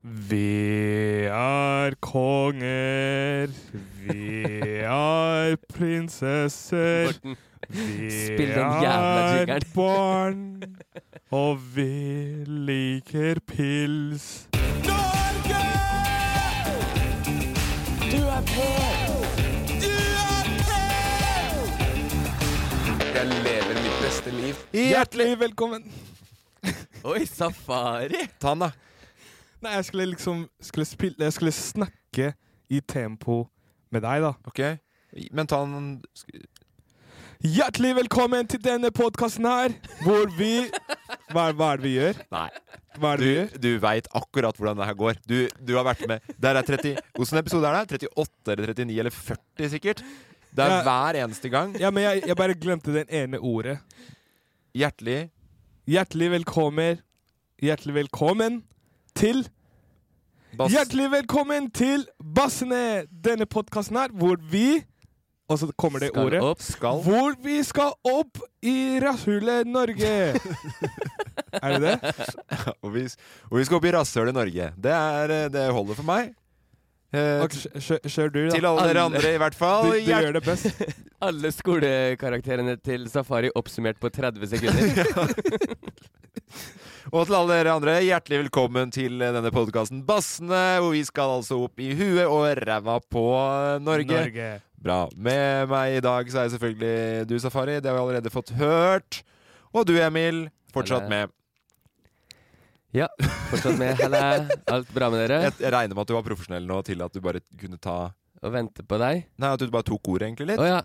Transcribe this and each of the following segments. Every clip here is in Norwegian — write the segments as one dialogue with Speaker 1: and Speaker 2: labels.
Speaker 1: Vi er konger. Vi er prinsesser. Vi
Speaker 2: Spill den jævla
Speaker 1: er
Speaker 2: jingeren.
Speaker 1: barn. Og vi liker pils.
Speaker 3: Jeg lever mitt beste liv.
Speaker 1: Hjertelig velkommen.
Speaker 2: Oi, safari!
Speaker 3: Ta den, da.
Speaker 1: Nei, jeg skulle liksom skulle spille, Jeg skulle snakke i tempo med deg, da.
Speaker 3: Ok? Men ta den
Speaker 1: Hjertelig velkommen til denne podkasten her, hvor vi hva, er- hva er det vi gjør?
Speaker 3: Nei.
Speaker 1: Hva er
Speaker 3: Du,
Speaker 1: det vi gjør?
Speaker 3: du veit akkurat hvordan det her går. Du, du har vært med Der er 30 Hvilken episode er det? 38 eller 39 eller 40, sikkert? Det er
Speaker 1: Ja.
Speaker 3: hver eneste gang.
Speaker 1: Ja, men jeg, jeg bare glemte den ene ordet.
Speaker 3: Hjertelig
Speaker 1: Hjertelig velkommen Hjertelig velkommen til
Speaker 3: bass...
Speaker 1: Hjertelig velkommen til Bassene! Denne podkasten her hvor vi Og så kommer det
Speaker 2: Skal
Speaker 1: ordet.
Speaker 2: opp.
Speaker 3: Skal
Speaker 1: Hvor vi skal opp i rasshølet Norge! er det det?
Speaker 3: og vi, og vi skal opp i rasshølet Norge. Det, er, eh, det holder for meg. Eh,
Speaker 1: Ok, kjø- kjør- Kjør du, da.
Speaker 3: til alle dere
Speaker 2: Alle.
Speaker 3: andre, i hvert
Speaker 1: Du,
Speaker 3: fall.
Speaker 1: du gjør det best.
Speaker 2: Alle skolekarakterene til Safari oppsummert på 30 sekunder.
Speaker 3: Og til alle dere andre, hjertelig velkommen til denne podkasten Bassene, hvor vi skal altså opp i huet og ræva på Norge. Bra. Med meg i dag så er selvfølgelig du, Safari. Det har vi allerede fått hørt. Og du, Emil. Fortsatt
Speaker 2: Hallo.
Speaker 3: med.
Speaker 2: Ja, fortsatt med. Halla. Alt bra med dere?
Speaker 3: Jeg jeg regner med at du var profesjonell nå til at du bare kunne ta
Speaker 2: Og venter på deg.
Speaker 3: Nei, at du bare tok ordet, egentlig, litt.
Speaker 2: Å ja.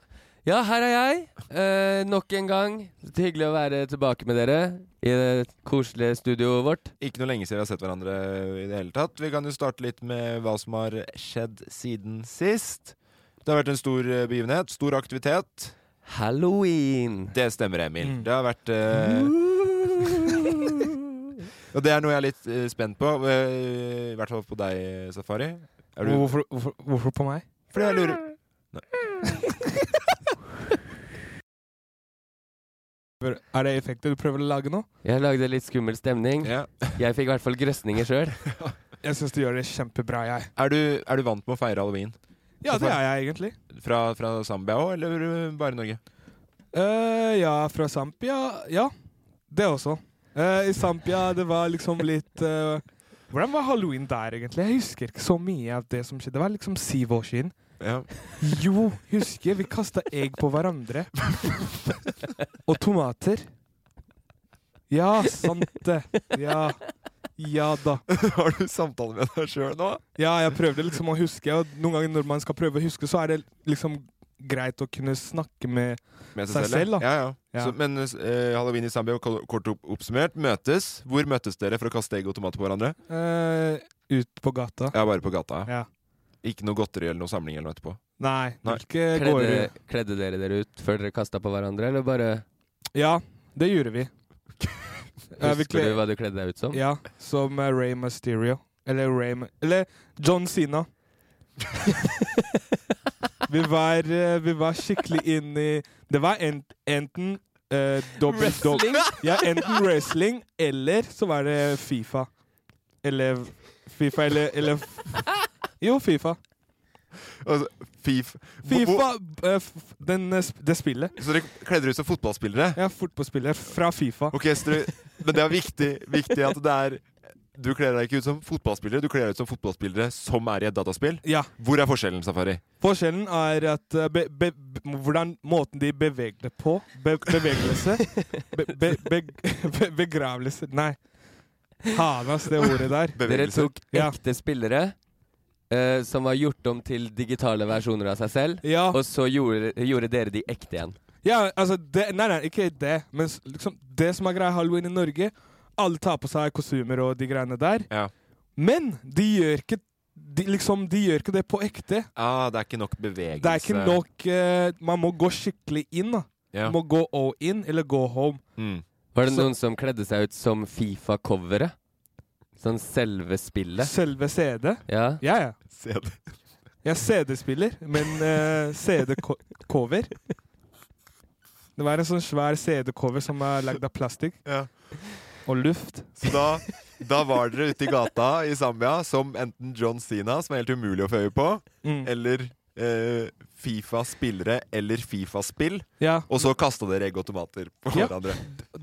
Speaker 2: Ja, her er jeg. Eh, nok en gang. Det er Hyggelig å være tilbake med dere i det koselige studioet vårt.
Speaker 3: Ikke noe lenge siden vi har sett hverandre i det hele tatt. Vi kan jo starte litt med hva som har skjedd siden sist. Det har vært en stor eh, begivenhet. Stor aktivitet.
Speaker 2: Halloween.
Speaker 3: Det stemmer, Emil. Det har vært eh, Og det er noe jeg er litt eh, spent på. eh, I hvert fall på deg, Safari. Er du
Speaker 1: Hvorfor, hvorfor, hvorfor på meg?
Speaker 3: Fordi jeg lurer
Speaker 1: Er det effekter du prøver å lage nå?
Speaker 2: Jeg lagde litt skummel stemning.
Speaker 3: ja.
Speaker 2: Jeg fikk i hvert fall grøsninger sjøl.
Speaker 1: Jeg syns du gjør det kjempebra, jeg.
Speaker 3: er, du, er du vant med å feire halloween?
Speaker 1: Ja, det er jeg egentlig.
Speaker 3: Fra, fra Zambia òg, eller eh, bare i Norge?
Speaker 1: Eh, ja, fra Zampia Ja, det også. Eh, I Zampia det var liksom litt eh, Hvordan var halloween der, egentlig? Jeg husker ikke så mye av det som skjedde. Det var liksom syv år siden.
Speaker 3: Ja.
Speaker 1: Jo, husker jeg, vi kasta egg på hverandre. Og tomater. Ja, sant det. Ja. Ja da.
Speaker 3: har du samtale med deg sjøl nå?
Speaker 1: Ja, jeg prøvde liksom å huske, og noen ganger når man skal prøve å huske, så er det liksom greit å kunne snakke med
Speaker 3: Med
Speaker 1: Seg selv, da.
Speaker 3: Ja, ja.
Speaker 1: Ja.
Speaker 3: Så, men eh, halloween i Zambia, ko- kort opp oppsummert, møtes. Hvor møttes dere for å kaste egg og tomater på hverandre?
Speaker 1: Eh, ut på gata.
Speaker 3: Ja, bare på gata.
Speaker 1: Ja.
Speaker 3: Ikke noe godteri eller noe samling eller noe etterpå.
Speaker 1: Nei,
Speaker 3: Nei.
Speaker 1: ikke går
Speaker 2: Kledde,
Speaker 1: ut.
Speaker 2: kledde dere dere ut før dere kasta på hverandre, eller bare
Speaker 1: Ja, det gjorde vi. Ja, vi
Speaker 2: Husker
Speaker 1: kle-
Speaker 2: du hva du kledde deg ut som?
Speaker 1: Ja, som eh, Ray Mysterio. Eller Ray M- Eller John Sina. vi, var, eh, vi var skikkelig inn i Det var en, enten eh, dobbelt
Speaker 2: Wrestling?
Speaker 1: dobbelt- Ja, enten wrestling, eller så var det Fifa. Eller Fifa, eller, eller f- Jo, Fifa.
Speaker 3: Altså, fif. Hvor- hvor-
Speaker 1: Fifa, eh, f- den, eh, sp- det spillet.
Speaker 3: Så dere kledde dere ut som fotballspillere?
Speaker 1: Ja, fotballspiller fra Fifa.
Speaker 3: Ok, så dere, Men det er viktig, viktig at det er Du kler deg ikke ut som fotballspillere, du kler deg ut som fotballspillere som er i et dataspill.
Speaker 1: Ja.
Speaker 3: Hvor er forskjellen, Safari?
Speaker 1: Forskjellen er at eh, be, be, be, hvordan måten de beveger det på be, Bevegelse. Be, be, be, be, begravelse Nei. Faen, ass, det ordet der.
Speaker 2: Dere
Speaker 3: Bevegelse.
Speaker 2: tok
Speaker 1: Ja.
Speaker 2: ekte spillere eh, som var gjort om til digitale versjoner av seg selv,
Speaker 1: Ja,
Speaker 2: og så gjorde, gjorde dere de ekte igjen.
Speaker 1: ja altså det, Nei, nei, ikke det. Men s- liksom, det som er greia i halloween i Norge Alle tar på seg kostymer og de greiene der.
Speaker 3: Ja.
Speaker 1: Men de gjør ikke de, liksom, de gjør ikke det på ekte.
Speaker 3: Ah, det er ikke nok bevegelse.
Speaker 1: Det er ikke nok eh, Man må gå skikkelig inn. da
Speaker 3: Ja.
Speaker 1: Må gå all in, eller gå home.
Speaker 3: Mm.
Speaker 2: Var det
Speaker 1: Så-
Speaker 2: noen som kledde seg ut som Fifa-coveret? Sånn selve spillet?
Speaker 1: Selve CD.
Speaker 2: Ja.
Speaker 1: Ja, ja.
Speaker 3: Se det.
Speaker 1: Jeg er CD-spiller, men eh, CD-cover. Det var en sånn svær CD-cover som er lagd av plastikk
Speaker 3: Ja.
Speaker 1: og luft.
Speaker 3: Så da, da var dere ute i gata i Zambia som enten John Sina, som er helt umulig å få øye på,
Speaker 1: Mm.
Speaker 3: eller eh, Fifa-spillere eller Fifa-spill.
Speaker 1: Ja,
Speaker 3: Og så kasta dere egg og tomater på
Speaker 1: Ja.
Speaker 3: hverandre.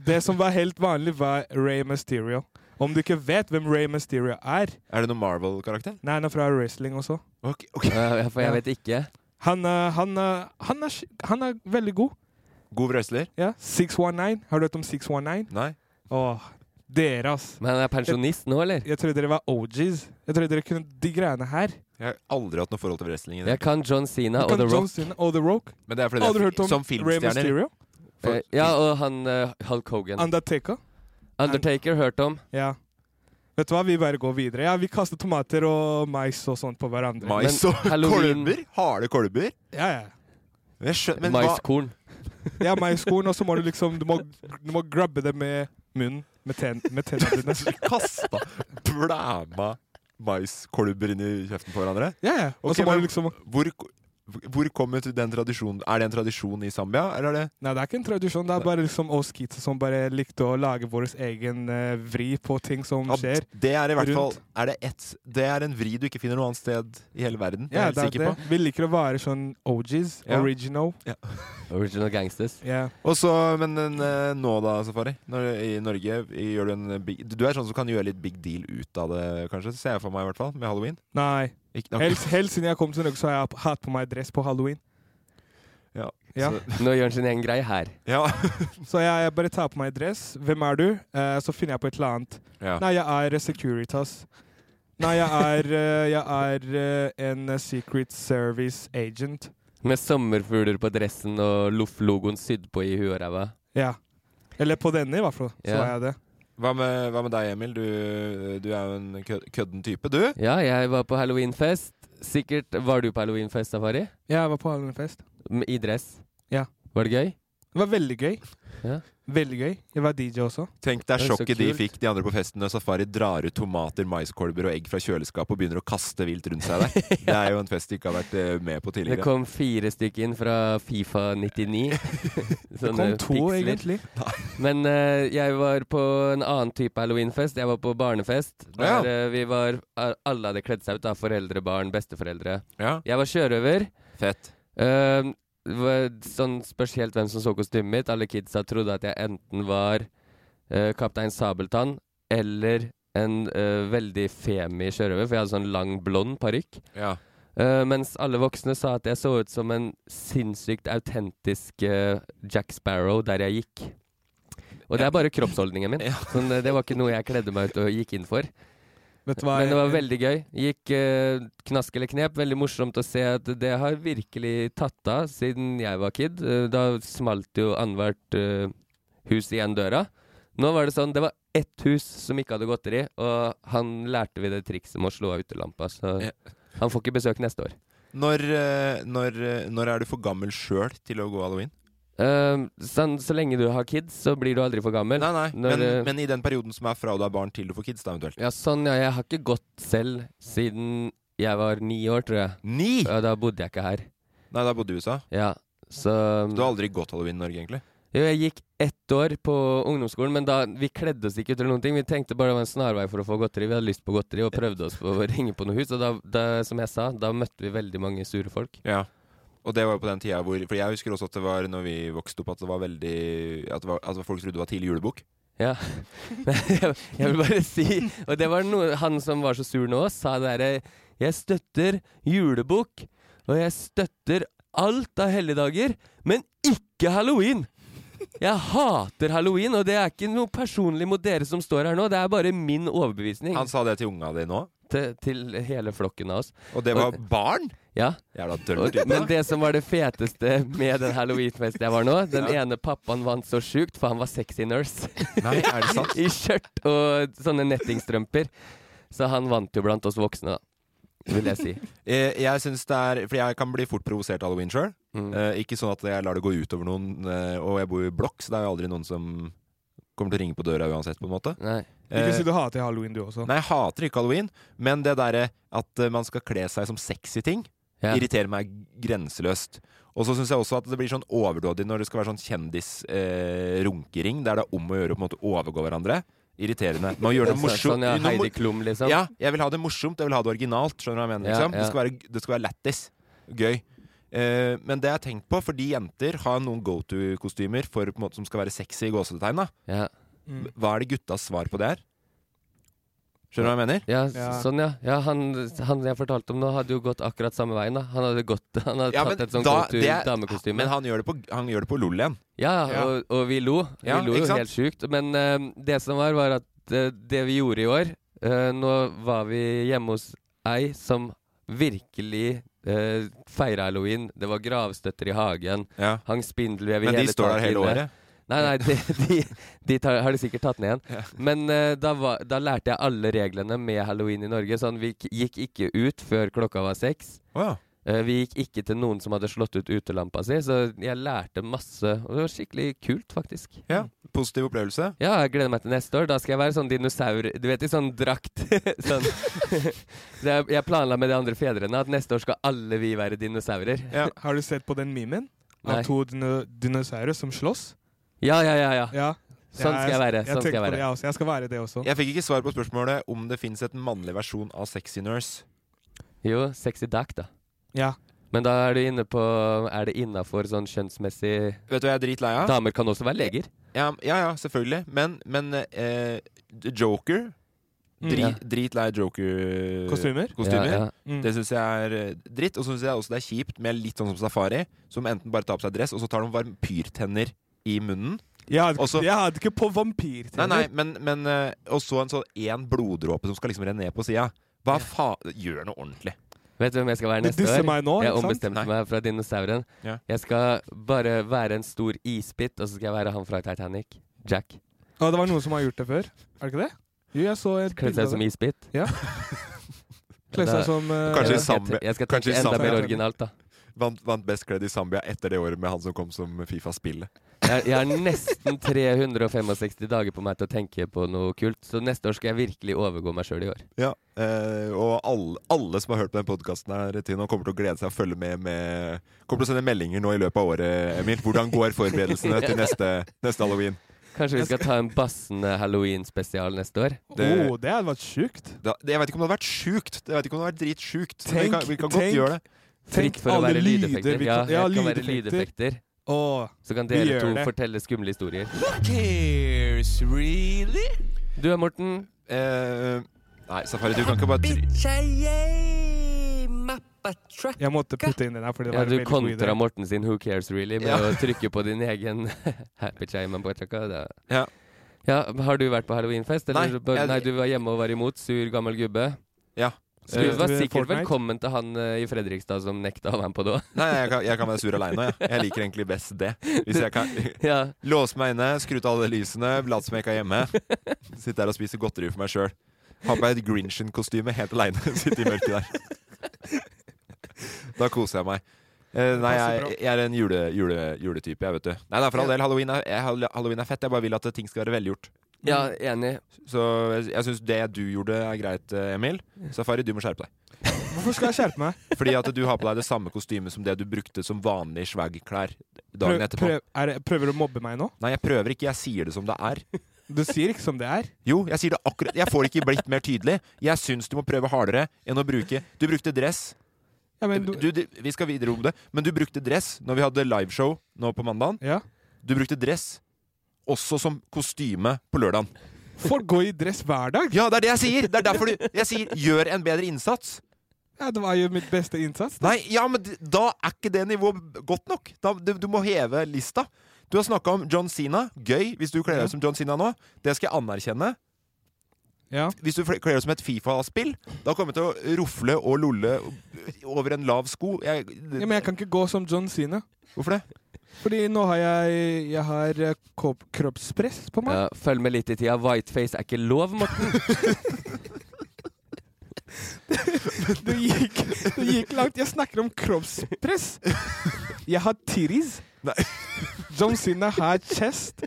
Speaker 1: Det som var helt vanlig, var Ray Mysterio. Om du ikke vet hvem Ray Mysterio er
Speaker 3: Er det noen Marvel-karakter?
Speaker 1: Nei, han er fra wrestling også.
Speaker 3: Ok, ok.
Speaker 2: Ja, for jeg vet ikke.
Speaker 1: Han er, han er, han er, sk- han er veldig god.
Speaker 3: God wrestler?
Speaker 1: Ja, 619. Har du hørt om 619?
Speaker 3: Nei?
Speaker 1: Åh, dere, ass.
Speaker 2: Men han er pensjonist nå, eller?
Speaker 1: Jeg trodde dere var OGs. Jeg trodde dere kunne de greiene her.
Speaker 3: Jeg har aldri hatt noe forhold til wrestling. i det.
Speaker 2: Jeg kan John Sina og
Speaker 1: Kan
Speaker 2: The
Speaker 1: John
Speaker 2: Rock.
Speaker 1: Cena og The Rock.
Speaker 3: Men det er fordi
Speaker 1: Har du
Speaker 3: det er
Speaker 1: hørt
Speaker 3: fi-
Speaker 1: om
Speaker 3: som
Speaker 1: Ray
Speaker 3: filmstjerner.
Speaker 1: Mysterio?
Speaker 3: For-
Speaker 2: Eh, Ja, og han eh, Hulk Hogan.
Speaker 1: Undertaker?
Speaker 2: Undertaker, hørt om.
Speaker 1: Ja. Vet du hva, vi bare går videre. Ja, vi kaster tomater og mais og sånt på hverandre.
Speaker 3: Mais
Speaker 2: Men
Speaker 3: og
Speaker 2: Halloween-
Speaker 3: kolber? Harde kolber?
Speaker 1: Ja, ja.
Speaker 3: Men Jeg skjønner, men hva,
Speaker 2: Maiskorn.
Speaker 1: ja maiskorn, og så må du liksom Du må, du må grabbe det med munnen. Med, ten, med tennene dine.
Speaker 3: kasta blæma maiskolber inn i kjeften på hverandre?
Speaker 1: Ja, ja. Og
Speaker 3: Ok,
Speaker 1: så må
Speaker 3: men-
Speaker 1: du liksom
Speaker 3: Hvor, hvor kommer til den tradisjonen Er det en tradisjon i Zambia, eller er det
Speaker 1: Nei, det er ikke en tradisjon. Det er bare liksom oss kids som bare likte å lage vår egen eh, vri på ting som
Speaker 3: Ja,
Speaker 1: skjer.
Speaker 3: Det er i hvert
Speaker 1: Rundt.
Speaker 3: fall er det, et, det er en vri du ikke finner noe annet sted i hele verden. Det
Speaker 1: Ja,
Speaker 3: er jeg
Speaker 1: det
Speaker 3: helt
Speaker 1: er
Speaker 3: sikker
Speaker 1: det.
Speaker 3: på.
Speaker 1: Vi liker å være sånn OGs.
Speaker 3: Ja.
Speaker 1: Original.
Speaker 2: Original Gangsters.
Speaker 1: Ja.
Speaker 3: Og så- men eh, nå da, Safari. Når, I Norge gjør du en big Du er sånn som kan gjøre litt big deal ut av det, kanskje. Ser jeg for meg, i hvert fall. Med halloween.
Speaker 1: Nei.
Speaker 3: Ikke,
Speaker 1: Helt, helt siden jeg kom til Norge, så har jeg hatt på meg dress på halloween.
Speaker 3: Ja.
Speaker 1: ja.
Speaker 3: Så,
Speaker 2: Nå gjør han sin egen greie her.
Speaker 3: ja.
Speaker 1: Så jeg, jeg bare tar på meg dress. Hvem er du? Eh, så finner jeg på et eller annet.
Speaker 3: ja.
Speaker 1: Nei, jeg er eh, Securitas. Nei, jeg er, eh, jeg er eh, en eh, Secret Service agent.
Speaker 2: Med sommerfugler på dressen og loff-logoen sydd på i huet og ræva.
Speaker 1: Ja. Eller på denne, i hvert fall. Så
Speaker 2: Ja.
Speaker 1: er jeg det.
Speaker 3: Hva, med, hva med deg, Emil? Du, du er jo en kø- kødden type, du.
Speaker 2: Ja, jeg var på halloweenfest. Sikkert var du på halloweenfest, Safari?
Speaker 1: Jeg var på halloweenfest.
Speaker 2: M- I dress?
Speaker 1: Ja.
Speaker 2: Var det gøy?
Speaker 1: Det var veldig gøy.
Speaker 2: Ja.
Speaker 1: Veldig gøy. Jeg var DJ også.
Speaker 3: Tenk deg
Speaker 2: Det er så
Speaker 3: sjokket de
Speaker 2: kult.
Speaker 3: fikk, de andre på festen, når Safari drar ut tomater, maiskolber og egg fra kjøleskapet og begynner å kaste vilt rundt seg der. Det er jo en fest de ikke har vært eh, med på
Speaker 2: Det
Speaker 3: tidligere.
Speaker 2: kom fire stykker inn fra Fifa 99.
Speaker 1: Det
Speaker 2: Sånne
Speaker 1: kom to,
Speaker 2: piksler.
Speaker 1: egentlig.
Speaker 2: Men eh, jeg var på en annen type halloweenfest. Jeg var på barnefest. Der
Speaker 3: Ja.
Speaker 2: eh, vi var Alle hadde kledd seg ut, da. Foreldre, barn, besteforeldre.
Speaker 3: Ja,
Speaker 2: Jeg var sjørøver.
Speaker 3: fett.
Speaker 2: Eh, det var sånn spørs helt hvem som så kostymet mitt. Alle kidsa trodde at jeg enten var eh, kaptein Sabeltann eller en eh, veldig femi sjørøver, for jeg hadde sånn lang, blond parykk.
Speaker 3: Ja.
Speaker 2: Eh, mens alle voksne sa at jeg så ut som en sinnssykt autentisk eh, Jack Sparrow der jeg gikk. Og det er bare kroppsholdningen min.
Speaker 3: Ja.
Speaker 2: Sånn, eh, det var ikke noe jeg kledde meg ut og gikk inn for.
Speaker 1: Vet du hva?
Speaker 2: Men det var veldig gøy. Gikk eh, knask eller knep. Veldig morsomt å se at det har virkelig tatt av siden jeg var kid. Eh, da smalt jo annethvert eh, hus igjen døra. Nå var det sånn, det var ett hus som ikke hadde godteri, og han lærte vi det trikset med å slå av utelampa, så
Speaker 3: Ja.
Speaker 2: han får ikke besøk neste år.
Speaker 3: Når, eh, når, eh, når er du for gammel sjøl til å gå halloween?
Speaker 2: Eh, sånn, så lenge du har kids, så blir du aldri for gammel.
Speaker 3: Nei, nei,
Speaker 2: Når,
Speaker 3: men,
Speaker 2: eh,
Speaker 3: men i den perioden som er fra du er barn til du får kids, da eventuelt.
Speaker 2: Ja, sånn, ja. Jeg har ikke gått selv siden jeg var ni år, tror jeg.
Speaker 3: Ni!
Speaker 2: Ja, da bodde jeg ikke her.
Speaker 3: Nei, da bodde du i USA.
Speaker 2: Ja, så
Speaker 3: Du
Speaker 2: Mm.
Speaker 3: har aldri gått halloween i Norge, egentlig.
Speaker 2: Jo, jeg gikk ett år på ungdomsskolen, men da vi kledde oss ikke ut eller noen ting. Vi tenkte bare det var en snarvei for å få godteri. Vi hadde lyst på godteri og prøvde oss på å ringe på noe hus. Og da, da, som jeg sa, da møtte vi veldig mange sure folk.
Speaker 3: Ja og det var jo på den tida hvor For jeg husker også at det var når vi vokste opp, at det var veldig At, det var, at folk trodde det var tidlig julebukk.
Speaker 2: Ja. Men jeg, jeg vil bare si Og det var noe han som var så sur nå, sa det derre Jeg støtter julebukk, og jeg støtter alt av helligdager, men ikke halloween! Jeg hater halloween, og det er ikke noe personlig mot dere som står her nå. Det er bare min overbevisning
Speaker 3: Han sa det til unga di nå,
Speaker 2: til, til hele flokken av oss.
Speaker 3: og det var
Speaker 2: Og-
Speaker 3: barn!
Speaker 2: Ja.
Speaker 3: Jævla
Speaker 2: Og,
Speaker 3: dølt.
Speaker 2: men det som var det feteste med den halloweenfesten jeg var nå, den ene pappaen vant så sjukt, for han var sexy nurse.
Speaker 3: Nei, er det sant?
Speaker 2: I skjørt og sånne nettingstrømper. Så han vant jo blant oss voksne, da. Vil jeg si.
Speaker 3: Eh, Jeg synes det er For jeg kan bli fort provosert av halloween sjøl.
Speaker 2: Mm.
Speaker 3: Eh, ikke sånn at jeg lar det gå ut over noen, eh, og jeg bor jo i blokk, så det er jo aldri noen som kommer til å ringe på døra uansett, på en måte.
Speaker 2: Nei.
Speaker 3: Eh,
Speaker 1: Ikke si du hater halloween, du også.
Speaker 3: Nei, jeg hater ikke halloween, men det derre at eh, man skal kle seg som sexy ting,
Speaker 2: Ja.
Speaker 3: irriterer meg grenseløst. Og så syns jeg også at det blir sånn overdådig når det skal være sånn kjendis-runkering, der det er om å gjøre å på en måte overgå hverandre. Irriterende. Man gjør det
Speaker 2: Så-
Speaker 3: morsomt.
Speaker 2: Sånn ja,
Speaker 3: Nå må-
Speaker 2: Heidi Klum, liksom.
Speaker 3: ja, jeg vil ha det morsomt, jeg vil ha det originalt. Skjønner du hva jeg mener?
Speaker 2: Ja,
Speaker 3: Liksom?
Speaker 2: ja.
Speaker 3: Det, skal være, det skal være lættis. Gøy. Eh, men det jeg har tenkt på, fordi jenter har noen go to-kostymer for, på en måte, som skal være sexy i gåsetegn, da.
Speaker 2: Ja.
Speaker 1: Mm.
Speaker 3: hva er det guttas svar på det her? Skjønner du hva jeg mener?
Speaker 2: Ja,
Speaker 1: Ja.
Speaker 2: s- sånn, ja. ja han, han jeg fortalte om nå, hadde jo gått akkurat samme veien. da Han hadde, gått, han hadde
Speaker 3: Ja,
Speaker 2: tatt
Speaker 3: men
Speaker 2: et sånt
Speaker 3: da-
Speaker 2: go to
Speaker 3: det-
Speaker 2: damekostyme.
Speaker 3: Men han gjør det på, han gjør det på LOL igjen.
Speaker 2: Ja,
Speaker 1: Ja.
Speaker 2: og, og vi lo.
Speaker 3: Ja,
Speaker 2: vi lo
Speaker 3: ikke
Speaker 2: jo
Speaker 3: sant?
Speaker 2: helt sjukt. Men eh, det som var, var at eh, det vi gjorde i år eh, Nå var vi hjemme hos ei som virkelig uh, feira halloween. Det var gravstøtter i hagen, hang spindelvev i
Speaker 3: Men de står der
Speaker 2: taket
Speaker 3: hele
Speaker 2: inne.
Speaker 3: året.
Speaker 2: Nei, nei, de, de, de tar, har de sikkert tatt ned igjen.
Speaker 3: Ja.
Speaker 2: Men eh, da, var, da lærte jeg alle reglene med halloween i Norge. Sånn, vi k- gikk ikke ut før klokka var seks.
Speaker 3: Å ja.
Speaker 2: Eh, Vi gikk ikke til noen som hadde slått ut utelampa si, så jeg lærte masse. Og det var skikkelig kult, faktisk.
Speaker 3: ja. Positiv opplevelse.
Speaker 2: Ja, jeg gleder meg til neste år. Da skal jeg være sånn dinosaur Du vet, i sånn drakt. sånn. Så jeg, jeg planla med de andre fedrene at neste år skal alle vi være dinosaurer.
Speaker 3: Ja.
Speaker 1: Har du sett på den memen?
Speaker 2: Nei.
Speaker 1: Av to dino dinosaurer som slåss?
Speaker 2: Ja, ja, ja. ja.
Speaker 1: Ja.
Speaker 2: Sånn skal jeg være. Sånn skal
Speaker 1: tenker på
Speaker 2: jeg
Speaker 1: det,
Speaker 2: være.
Speaker 1: jeg også. Jeg skal være det også.
Speaker 3: Jeg fikk ikke svar på spørsmålet om det fins et mannlig versjon av Sexy Nurse.
Speaker 2: Jo, sexy duck, da.
Speaker 1: Ja.
Speaker 2: Men da er du inne på Er det innafor sånn kjønnsmessig
Speaker 3: Vet du hva jeg er dritlei av?
Speaker 2: Damer kan også være leger.
Speaker 3: Ja, ja, ja selvfølgelig. Men, men eh, Joker
Speaker 1: Mm.
Speaker 3: Dri,
Speaker 2: Ja.
Speaker 3: Dritlei Joker
Speaker 1: Kostymer?
Speaker 3: kostymer.
Speaker 2: Ja, ja.
Speaker 1: Mm.
Speaker 3: Det syns jeg er eh, dritt. Og så syns jeg også det er kjipt med litt sånn som Safari, som enten bare tar på seg dress, og så tar de vampyrtenner i munnen.
Speaker 1: Jeg, hadde,
Speaker 3: Også-
Speaker 1: jeg hadde ikke på
Speaker 3: Nei, nei,
Speaker 1: vampyrtenner.
Speaker 3: men, men eh, Og så en sånn én bloddråpe som skal liksom renne ned på sida. Hva faen Gjør noe ordentlig.
Speaker 2: Vet du hvem jeg skal være
Speaker 1: Du
Speaker 2: neste
Speaker 1: disser
Speaker 2: år?
Speaker 1: meg nå,
Speaker 2: Jeg
Speaker 1: ikke sant?
Speaker 2: ombestemte
Speaker 3: Nei.
Speaker 2: meg fra dinosauren.
Speaker 3: Ja.
Speaker 2: Jeg skal bare være en stor isbit, og så skal jeg være han fra Titanic. Jack.
Speaker 1: Ja, det var noen som har gjort det før. Er det ikke det? Jo, jeg så et
Speaker 2: Kledd seg som isbit.
Speaker 1: Kledd
Speaker 2: Da-
Speaker 1: seg som eh,
Speaker 3: Kanskje
Speaker 2: jeg,
Speaker 3: i
Speaker 2: skal
Speaker 3: Zambia-
Speaker 2: te- jeg skal
Speaker 3: kanskje
Speaker 2: tenke
Speaker 3: i
Speaker 2: enda
Speaker 3: Zambia.
Speaker 2: mer originalt, da.
Speaker 3: Vant, vant best kledd i Zambia etter det året med han som kom som Fifa-spillet.
Speaker 2: Jeg, jeg har nesten 365 dager på meg til å tenke på noe kult, så neste år skal jeg virkelig overgå meg sjøl i år.
Speaker 3: Ja, eh, og alle, alle som har hørt på den podkasten her til nå, kommer til å glede seg og følge med med Kommer til å sende meldinger nå i løpet av året, Emil. Hvordan går forberedelsene til neste, neste halloween?
Speaker 2: Kanskje vi skal ta en bassende halloween-spesial neste år?
Speaker 3: det-
Speaker 1: oh, det hadde vært sjukt.
Speaker 3: Da, det, jeg vet ikke om det hadde vært sjukt. Det, jeg vet ikke om det hadde vært dritsjukt. Men vi
Speaker 1: Tenk-
Speaker 3: kan, vi kan
Speaker 1: tenk-
Speaker 3: godt gjøre det.
Speaker 2: Fritt for å
Speaker 1: alle
Speaker 2: være
Speaker 1: lyder
Speaker 2: lydeffekter.
Speaker 1: vi
Speaker 2: Ja,
Speaker 1: kan-
Speaker 2: jeg
Speaker 1: ja,
Speaker 2: kan være
Speaker 1: lydeffekter.
Speaker 2: lydeffekter.
Speaker 1: Åh,
Speaker 2: Så kan
Speaker 1: Vi
Speaker 2: dere
Speaker 1: gjør
Speaker 2: to
Speaker 1: det.
Speaker 2: fortelle skumle historier. Du er Morten.
Speaker 3: Eh, nei, Safari, du kan ikke bare try-
Speaker 1: jeg måtte putte inn den her, for det
Speaker 2: Ja,
Speaker 1: var
Speaker 2: du
Speaker 1: en veldig god idé.
Speaker 2: kontra Morten sin 'Who cares really' med
Speaker 3: Ja.
Speaker 2: å trykke på din egen Happy Chaiman Bochaka.
Speaker 3: Ja.
Speaker 2: Ja, har du vært på halloweenfest? Eller,
Speaker 3: Nei,
Speaker 2: nei,
Speaker 3: jeg-
Speaker 2: nei, du var hjemme og var imot. Sur, gammel gubbe.
Speaker 3: Ja.
Speaker 2: Så du
Speaker 1: Spilte
Speaker 2: var
Speaker 1: Eh, du
Speaker 2: sikkert
Speaker 1: Fortnite?
Speaker 2: velkommen til han eh, i Fredrikstad som nekta å være med på det òg.
Speaker 3: Nei, jeg kan, jeg kan være sur aleine, jeg. Jeg liker egentlig best det. Hvis jeg kan
Speaker 2: Ja.
Speaker 3: låse meg inne, skru ut alle lysene, late som jeg ikke er hjemme. Sitte der og spise godteri for meg sjøl. Ha på meg et Grinchen-kostyme helt aleine. Sitte i mørket der. Da koser jeg meg. Eh, nei, jeg, jeg er en jule, jule, juletype, jeg, vet du. Nei, da, for all del, halloween er, jeg, halloween er fett. Jeg bare vil at ting skal være velgjort.
Speaker 2: ja,
Speaker 1: Mm.
Speaker 2: enig.
Speaker 3: Så jeg, jeg syns det du gjorde, er greit, eh, Emil. Safari, du må skjerpe deg.
Speaker 1: Hvorfor skal jeg skjerpe meg?
Speaker 3: Fordi at du har på deg det samme kostymet som det du brukte som vanlige swag-klær dagen
Speaker 1: Prøv-
Speaker 3: etterpå.
Speaker 1: prøv- er, det- prøver du å mobbe meg nå?
Speaker 3: Nei, jeg prøver ikke. Jeg sier det som det er.
Speaker 1: Du sier ikke som det er.
Speaker 3: Jo, jeg sier det akkurat. Jeg får ikke blitt mer tydelig. Jeg syns du må prøve hardere enn å bruke Du brukte dress.
Speaker 1: Ja, men du,
Speaker 3: Du, det- vi skal videre om det, men du brukte dress når vi hadde liveshow nå på mandagen.
Speaker 1: ja.
Speaker 3: Du brukte dress også som kostyme på lørdagen.
Speaker 1: Folk går i dress hver dag.
Speaker 3: Ja, det er det jeg sier! Det er derfor du, jeg sier gjør en bedre innsats.
Speaker 1: Ja, det var jo mitt beste innsats.
Speaker 3: Nei, ja, men d- da er ikke det nivået godt nok. Da, du, du må heve lista. Du har snakka om John Sina. Gøy hvis du kler deg ut som John Sina nå. Det skal jeg anerkjenne.
Speaker 1: Ja.
Speaker 3: Hvis du fl- kler deg ut som et Fifa-spill, da kommer jeg til å rufle og lolle over en lav sko. Jeg,
Speaker 1: Ja, men jeg kan ikke gå som John Sina.
Speaker 3: hvorfor det?
Speaker 1: Fordi nå har jeg, jeg har eh, kropp- kroppspress på meg.
Speaker 2: Ja, følg med litt i tida. Whiteface er ikke lov, Morten.
Speaker 1: Det, gikk, det gikk langt. Jeg snakker om kroppspress. Jeg har titties.
Speaker 3: Nei.
Speaker 1: John Sina har chest.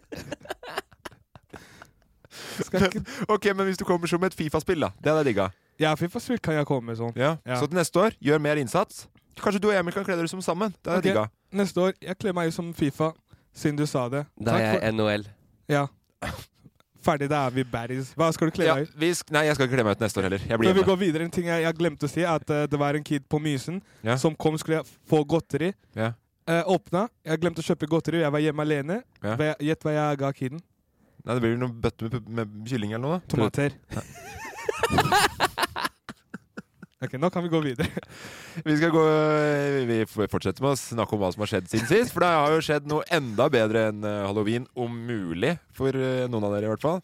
Speaker 1: Skal ikke
Speaker 3: Ok, men hvis du kommer som et Fifa-spill, da. Det hadde jeg digga.
Speaker 1: Ja, Fifa-spill kan jeg komme med sånn.
Speaker 3: Ja.
Speaker 1: Ja.
Speaker 3: Så til neste år, gjør mer innsats. Kanskje du og Emil kan kle dere som sammen. Det hadde jeg
Speaker 1: Ok. Neste år, jeg kler meg ut som Fifa, siden du sa det.
Speaker 2: Da er
Speaker 1: Takk for-
Speaker 2: jeg NHL.
Speaker 1: Ja. Ferdig, da er vi baddies. Hva skal du kle
Speaker 3: digga. Ja,
Speaker 1: deg ut?
Speaker 3: vi sk nei, jeg skal ikke kle meg ut neste år heller. Jeg blir
Speaker 1: Før vi
Speaker 3: hjemme.
Speaker 1: går videre, en ting jeg, jeg glemte å si, er at eh, det var en kid på Mysen
Speaker 3: Ja.
Speaker 1: som kom skulle få godteri.
Speaker 3: Ja.
Speaker 1: Eh, åpna. Jeg glemte å kjøpe godteri, og jeg var hjemme alene.
Speaker 3: Ja.
Speaker 1: Hva- Gjett hva jeg ga kiden?
Speaker 3: Nei, det blir vel noen bøtter med, med kylling eller noe, da.
Speaker 1: Tomater. ok, nå kan vi gå videre.
Speaker 3: Vi skal gå Vi fortsetter med å snakke om hva som har skjedd siden sist. For det har jo skjedd noe enda bedre enn eh, halloween, om mulig, for eh, noen av dere i hvert fall.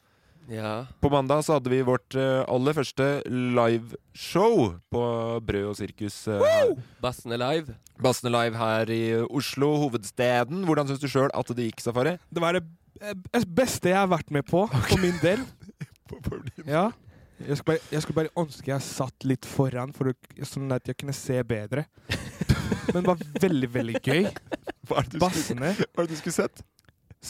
Speaker 2: Ja.
Speaker 3: På mandag så hadde vi vårt eh, aller første liveshow på Brød og sirkus. eh, her.
Speaker 2: Bassene live.
Speaker 3: Bassene Live her i Oslo, hovedstaden. Hvordan syns du sjøl at det gikk, Safari?
Speaker 1: Det var det eh, b- beste jeg har vært med på, for min del. Ja. Jeg skulle, bare, jeg skulle bare ønske jeg satt litt foran, for å, sånn at jeg kunne se bedre. Men det var veldig, veldig gøy.
Speaker 3: Hva er det du skulle,
Speaker 1: Bassene.
Speaker 3: hva er det du skulle sett?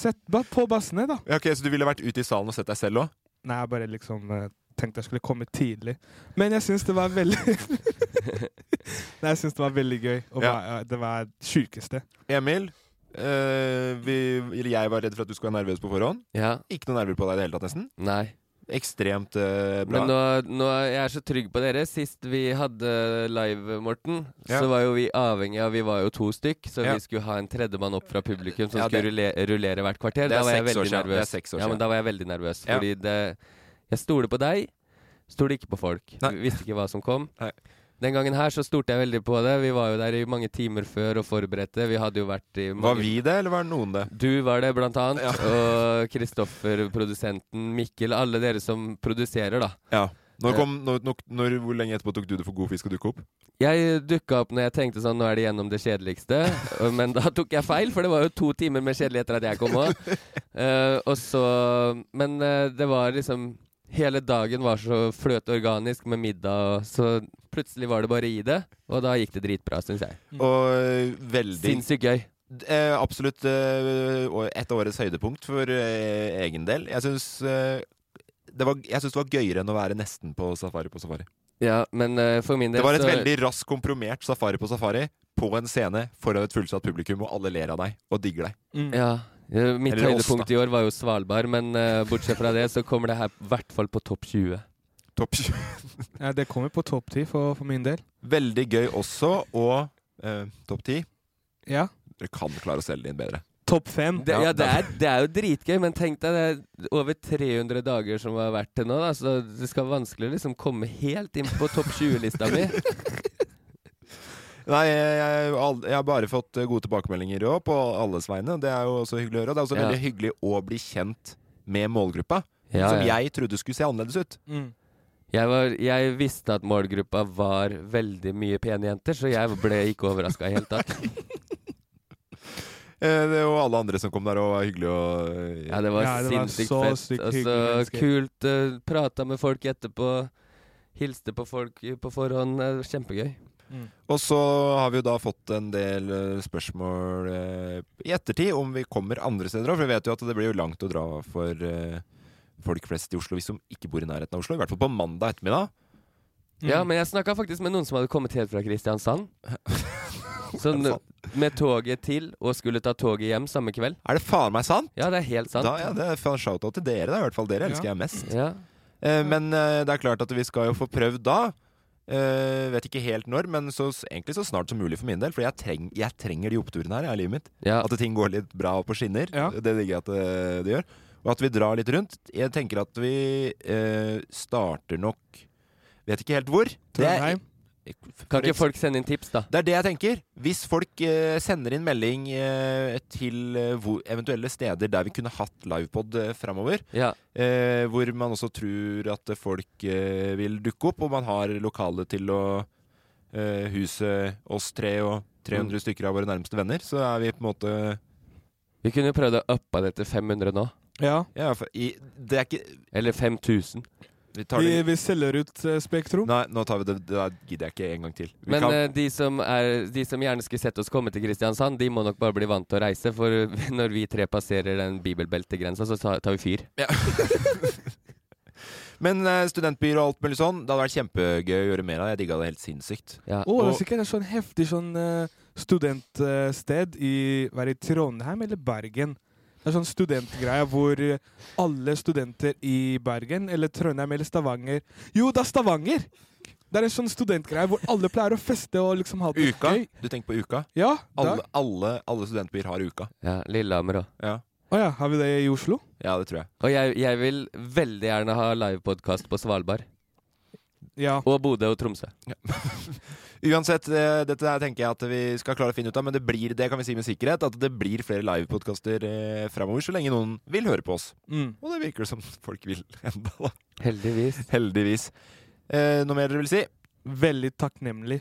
Speaker 1: Sett ba- på bassene, da.
Speaker 3: Ja, ok, Så du ville vært ute i salen og sett deg selv òg?
Speaker 1: Nei, jeg bare liksom eh, tenkte jeg skulle komme tidlig. Men jeg syns det var veldig Nei, jeg syns det var veldig gøy. Og
Speaker 3: Ja.
Speaker 1: var- eh, det var det sjukeste.
Speaker 3: Emil, eh, vi, eller jeg var redd for at du skulle være nervøs på forhånd.
Speaker 2: Ja.
Speaker 3: Ikke noe nerver på deg i det hele tatt, nesten.
Speaker 2: Nei.
Speaker 3: Ekstremt eh, bra.
Speaker 2: Men nå, nå er jeg så trygg på dere. Sist vi hadde live, Morten,
Speaker 3: Ja.
Speaker 2: så var jo vi avhengig av Vi var jo to stykk, så
Speaker 3: Ja.
Speaker 2: vi skulle ha en tredjemann opp fra publikum som
Speaker 3: Ja, det-
Speaker 2: skulle rulle- rullere hvert kvarter.
Speaker 3: Det er
Speaker 2: Da var jeg
Speaker 3: seks år
Speaker 2: veldig
Speaker 3: siden. Det er
Speaker 2: nervøs.
Speaker 3: seks år
Speaker 2: Ja, men
Speaker 3: siden.
Speaker 2: da var jeg veldig nervøs,
Speaker 3: Ja.
Speaker 2: fordi det Jeg stoler på deg, stoler ikke på folk.
Speaker 3: Nei.
Speaker 2: Vi visste ikke hva som kom.
Speaker 3: Nei.
Speaker 2: Den gangen her så stolte jeg veldig på det. Vi var jo der i mange timer før og forberedte. Vi hadde jo vært i
Speaker 3: Var
Speaker 2: mange
Speaker 3: vi det, eller var noen det?
Speaker 2: du var det, blant annet.
Speaker 3: Ja.
Speaker 2: Og Kristoffer, produsenten, Mikkel. Alle dere som produserer, da.
Speaker 3: Ja. Når
Speaker 2: Eh.
Speaker 3: kom, når, når, når, hvor lenge etterpå tok du det for god fisk å dukke opp?
Speaker 2: Jeg dukka opp når jeg tenkte sånn Nå er det gjennom det kjedeligste. Men da tok jeg feil, for det var jo to timer med kjedelig etter at jeg kom òg. og så Men eh, det var liksom Hele dagen var så fløte organisk med middag, og så plutselig var det bare i det. Og da gikk det dritbra, syns jeg.
Speaker 3: Og eh, veldig
Speaker 2: Sinnssykt gøy.
Speaker 3: eh, Absolutt eh, å- et av årets høydepunkt for eh, egen del. Jeg syns eh, det, var- jeg syns det var gøyere enn å være nesten på safari på safari.
Speaker 2: Ja, men eh, for min del
Speaker 3: Det var et
Speaker 2: så
Speaker 3: veldig raskt komprimert safari på safari på en scene foran et fullsatt publikum, og alle ler av deg og digger deg.
Speaker 2: Ja. eh, Mitt
Speaker 3: Eller oss,
Speaker 2: høydepunkt i år var jo Svalbard, men eh, bortsett fra det så kommer det her i hvert fall på topp 20.
Speaker 3: Topp 20.
Speaker 1: Ja, det kommer på topp ti for, for min del.
Speaker 3: Veldig gøy også, og eh, topp 10
Speaker 1: Ja.
Speaker 3: Dere kan klare å selge det inn bedre.
Speaker 1: Topp fem.
Speaker 2: Det,
Speaker 3: Ja,
Speaker 2: ja, det
Speaker 3: det-
Speaker 2: er, det er jo dritgøy, men tenk deg det er over 300 dager som har vært til nå. Da, så det skal vanskelig å liksom komme helt inn på topp 20-lista mi.
Speaker 3: Nei, jeg, jeg, al- jeg har bare fått eh, gode tilbakemeldinger òg, på alles vegne. Det er jo også hyggelig å høre. og Det er også
Speaker 2: Ja.
Speaker 3: veldig hyggelig å bli kjent med målgruppa,
Speaker 2: Ja,
Speaker 3: som
Speaker 2: ja.
Speaker 3: jeg trodde skulle se annerledes ut.
Speaker 1: Mm.
Speaker 2: Jeg, var, jeg visste at målgruppa var veldig mye pene jenter, så jeg ble ikke overraska i det hele tatt.
Speaker 3: Eh, det- og alle andre som kom der og var hyggelig og eh,
Speaker 2: Ja, det var
Speaker 1: Ja, det var
Speaker 2: sinnssykt
Speaker 1: så
Speaker 2: fett.
Speaker 1: sykt
Speaker 2: Og så
Speaker 1: hyggelige mennesker.
Speaker 2: kult. Uh, Prata med folk etterpå. Hilste på folk på forhånd. eh, Kjempegøy.
Speaker 3: Og så har vi jo da fått en del eh, spørsmål eh, i ettertid om vi kommer andre steder òg, for vi vet jo at det blir jo langt å dra for eh, folk flest i Oslo hvis de ikke bor i nærheten av Oslo. I hvert fall på mandag ettermiddag.
Speaker 1: Mm.
Speaker 2: Ja, men jeg snakka faktisk med noen som hadde kommet helt fra Kristiansand. Som med toget til og skulle ta toget hjem samme kveld.
Speaker 3: Er det faen meg sant?
Speaker 2: Ja, det er helt sant.
Speaker 3: Da, ja, det er faen shout-out til dere, da. I hvert fall dere elsker
Speaker 1: Ja.
Speaker 3: jeg mest.
Speaker 2: Ja.
Speaker 3: Eh, men eh, det er klart at vi skal jo få prøvd da. Eh, vet ikke helt når, men så, egentlig så snart som mulig for min del. For jeg, treng, jeg trenger de oppturene her jeg, i livet mitt.
Speaker 2: Ja.
Speaker 3: At ting går litt bra på skinner.
Speaker 1: Ja.
Speaker 3: Det digger jeg at det, det gjør. Og at vi drar litt rundt. Jeg tenker at vi eh, starter nok Vet ikke helt hvor. Det er-
Speaker 1: Trondheim.
Speaker 2: Kan ikke folk sende inn tips, da?
Speaker 3: det er det jeg tenker. Hvis folk eh, sender inn melding eh, til eh, hvor, eventuelle steder der vi kunne hatt livepod eh, framover,
Speaker 2: Ja.
Speaker 3: eh, hvor man også tror at folk eh, vil dukke opp, og man har lokale til å eh, huse oss tre og 300 stykker av våre nærmeste venner, så er vi på en måte
Speaker 2: Vi kunne jo prøvd å uppe det til 500 nå.
Speaker 1: Ja.
Speaker 3: ja, for i, Det er ikke
Speaker 2: Eller 5000.
Speaker 3: Vi tar
Speaker 1: Vi,
Speaker 3: det
Speaker 1: vi selger ut eh, Spektrum.
Speaker 3: Nei, nå tar vi det. Det der gidder jeg ikke en gang til. Vi
Speaker 2: Men
Speaker 3: kan,
Speaker 2: eh, de, som er, de som gjerne skulle sett oss komme til Kristiansand, de må nok bare bli vant til å reise. For når vi tre passerer den bibelbeltegrensa, så tar tar vi fyr.
Speaker 3: men eh, studentbyer og alt mulig sånn, det hadde vært kjempegøy å gjøre mer av. Jeg digga det helt sinnssykt.
Speaker 2: Ja.
Speaker 1: Å, det
Speaker 3: Og-
Speaker 1: er sikkert et sånn heftig sånn eh, studentsted i Var det i Trondheim eller Bergen? Det er sånn studentgreie hvor eh, alle studenter i Bergen eller Trondheim eller Stavanger Jo, det er Stavanger! Det er en sånn studentgreie hvor alle pleier å feste og liksom ha det
Speaker 3: Uka.
Speaker 1: gøy.
Speaker 3: Du tenker på uka?
Speaker 1: Ja, da.
Speaker 3: Alle, alle, alle studentbyer har uka.
Speaker 2: Ja, Lillehammer òg.
Speaker 3: Ja.
Speaker 1: Å ja, har vi det i Oslo?
Speaker 3: ja, det tror jeg.
Speaker 2: Og jeg, jeg vil veldig gjerne ha livepodkast på Svalbard.
Speaker 1: Ja.
Speaker 2: Og Bodø og Tromsø.
Speaker 3: Uansett, eh, dette her tenker jeg at vi skal klare å finne ut av, men det blir det kan vi si med sikkerhet, at det blir flere livepodkaster eh, framover så lenge noen vil høre på oss.
Speaker 1: Mm.
Speaker 3: Og det virker det som folk vil enda, da.
Speaker 2: Heldigvis.
Speaker 3: Heldigvis. Eh, noe mer dere vil si?
Speaker 1: Veldig takknemlig.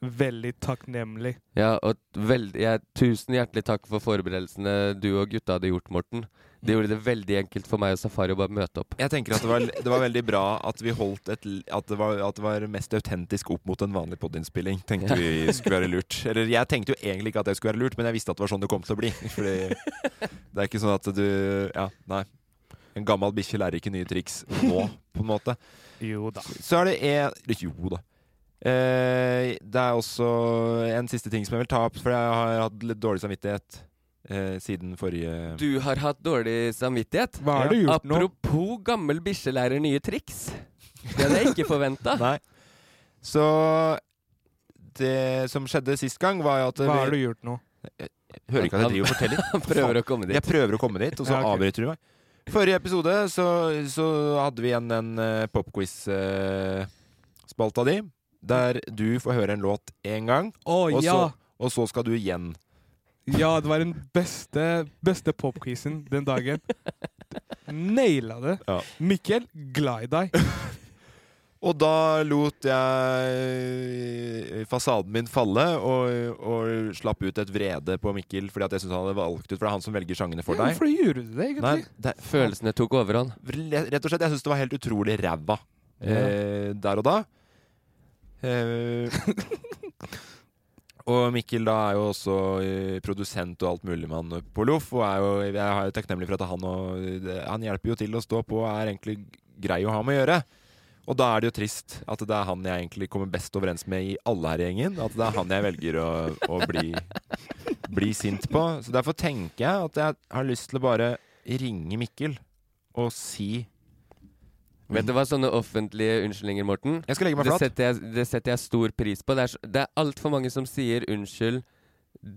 Speaker 1: Veldig takknemlig.
Speaker 2: Ja, og veld, jeg, tusen hjertelig takk for forberedelsene du og gutta hadde gjort, Morten. Det gjorde det veldig enkelt for meg og Safari å bare møte opp.
Speaker 3: Jeg tenker at det var, det var veldig bra at vi holdt et, l- at, det var, at det var mest autentisk opp mot en vanlig podinnspilling, tenkte vi skulle være lurt. Eller jeg tenkte jo egentlig ikke at det skulle være lurt, men jeg visste at det var sånn det kom til å bli. Fordi det er ikke sånn at du Ja, nei. En gammel bikkje lærer ikke nye triks nå, på en måte.
Speaker 1: Jo da.
Speaker 3: Så er det en Jo da. Eh, det er også en siste ting som jeg vil ta opp, for jeg har hatt litt dårlig samvittighet eh, siden forrige
Speaker 2: Du har hatt dårlig samvittighet.
Speaker 1: Hva har du gjort nå?
Speaker 2: Apropos gammel bikkje lærer nye triks. Det hadde jeg ikke
Speaker 1: Ah.
Speaker 2: forventa.
Speaker 3: Nei. Så det som skjedde sist gang, var jo at
Speaker 1: Hva har du
Speaker 3: vi
Speaker 1: gjort nå?
Speaker 3: hører ikke at jeg driver og forteller.
Speaker 2: Han prøver å komme dit.
Speaker 3: Jeg prøver å komme dit, og så
Speaker 1: Ja, ok.
Speaker 3: avbryter du meg. Forrige episode så, så hadde vi igjen en eh, popquiz-spalta di, der du får høre en låt én gang,
Speaker 1: Å
Speaker 3: og så,
Speaker 1: ja!
Speaker 3: og så skal du igjen.
Speaker 1: Ja, det var den beste, beste popquizen den dagen. Naila det.
Speaker 3: Ja.
Speaker 1: Mikkel, glad i deg.
Speaker 3: Og da lot jeg fasaden min falle og, og slapp ut et vrede på Mikkel fordi at jeg syntes han hadde valgt ut, for det er han som velger sangene for
Speaker 1: Ja,
Speaker 3: deg.
Speaker 1: hvorfor gjorde du det,
Speaker 3: Nei,
Speaker 1: egentlig?
Speaker 3: det,
Speaker 2: Følelsene tok overhånd.
Speaker 3: Le- Rett og slett, jeg syns det var helt utrolig ræva
Speaker 2: Ja.
Speaker 3: eh, der og da. Eh, og Mikkel da er jo også eh, produsent og alt mulig mann på Loff, og er jo, jeg er jo takknemlig for at han, og, det- han hjelper jo til å stå på og er egentlig grei å ha med å gjøre. Og da er det jo trist at det er han jeg egentlig kommer best overens med i alle her i gjengen. At det er han jeg velger å, å bli, bli sint på. Så derfor tenker jeg at jeg har lyst til å bare ringe Mikkel og si
Speaker 2: Vet du hva sånne offentlige unnskyldninger, Morten?
Speaker 3: Jeg skal legge meg
Speaker 2: Det
Speaker 3: flat.
Speaker 2: setter jeg, det setter jeg stor pris på. Det er, så- det er altfor mange som sier unnskyld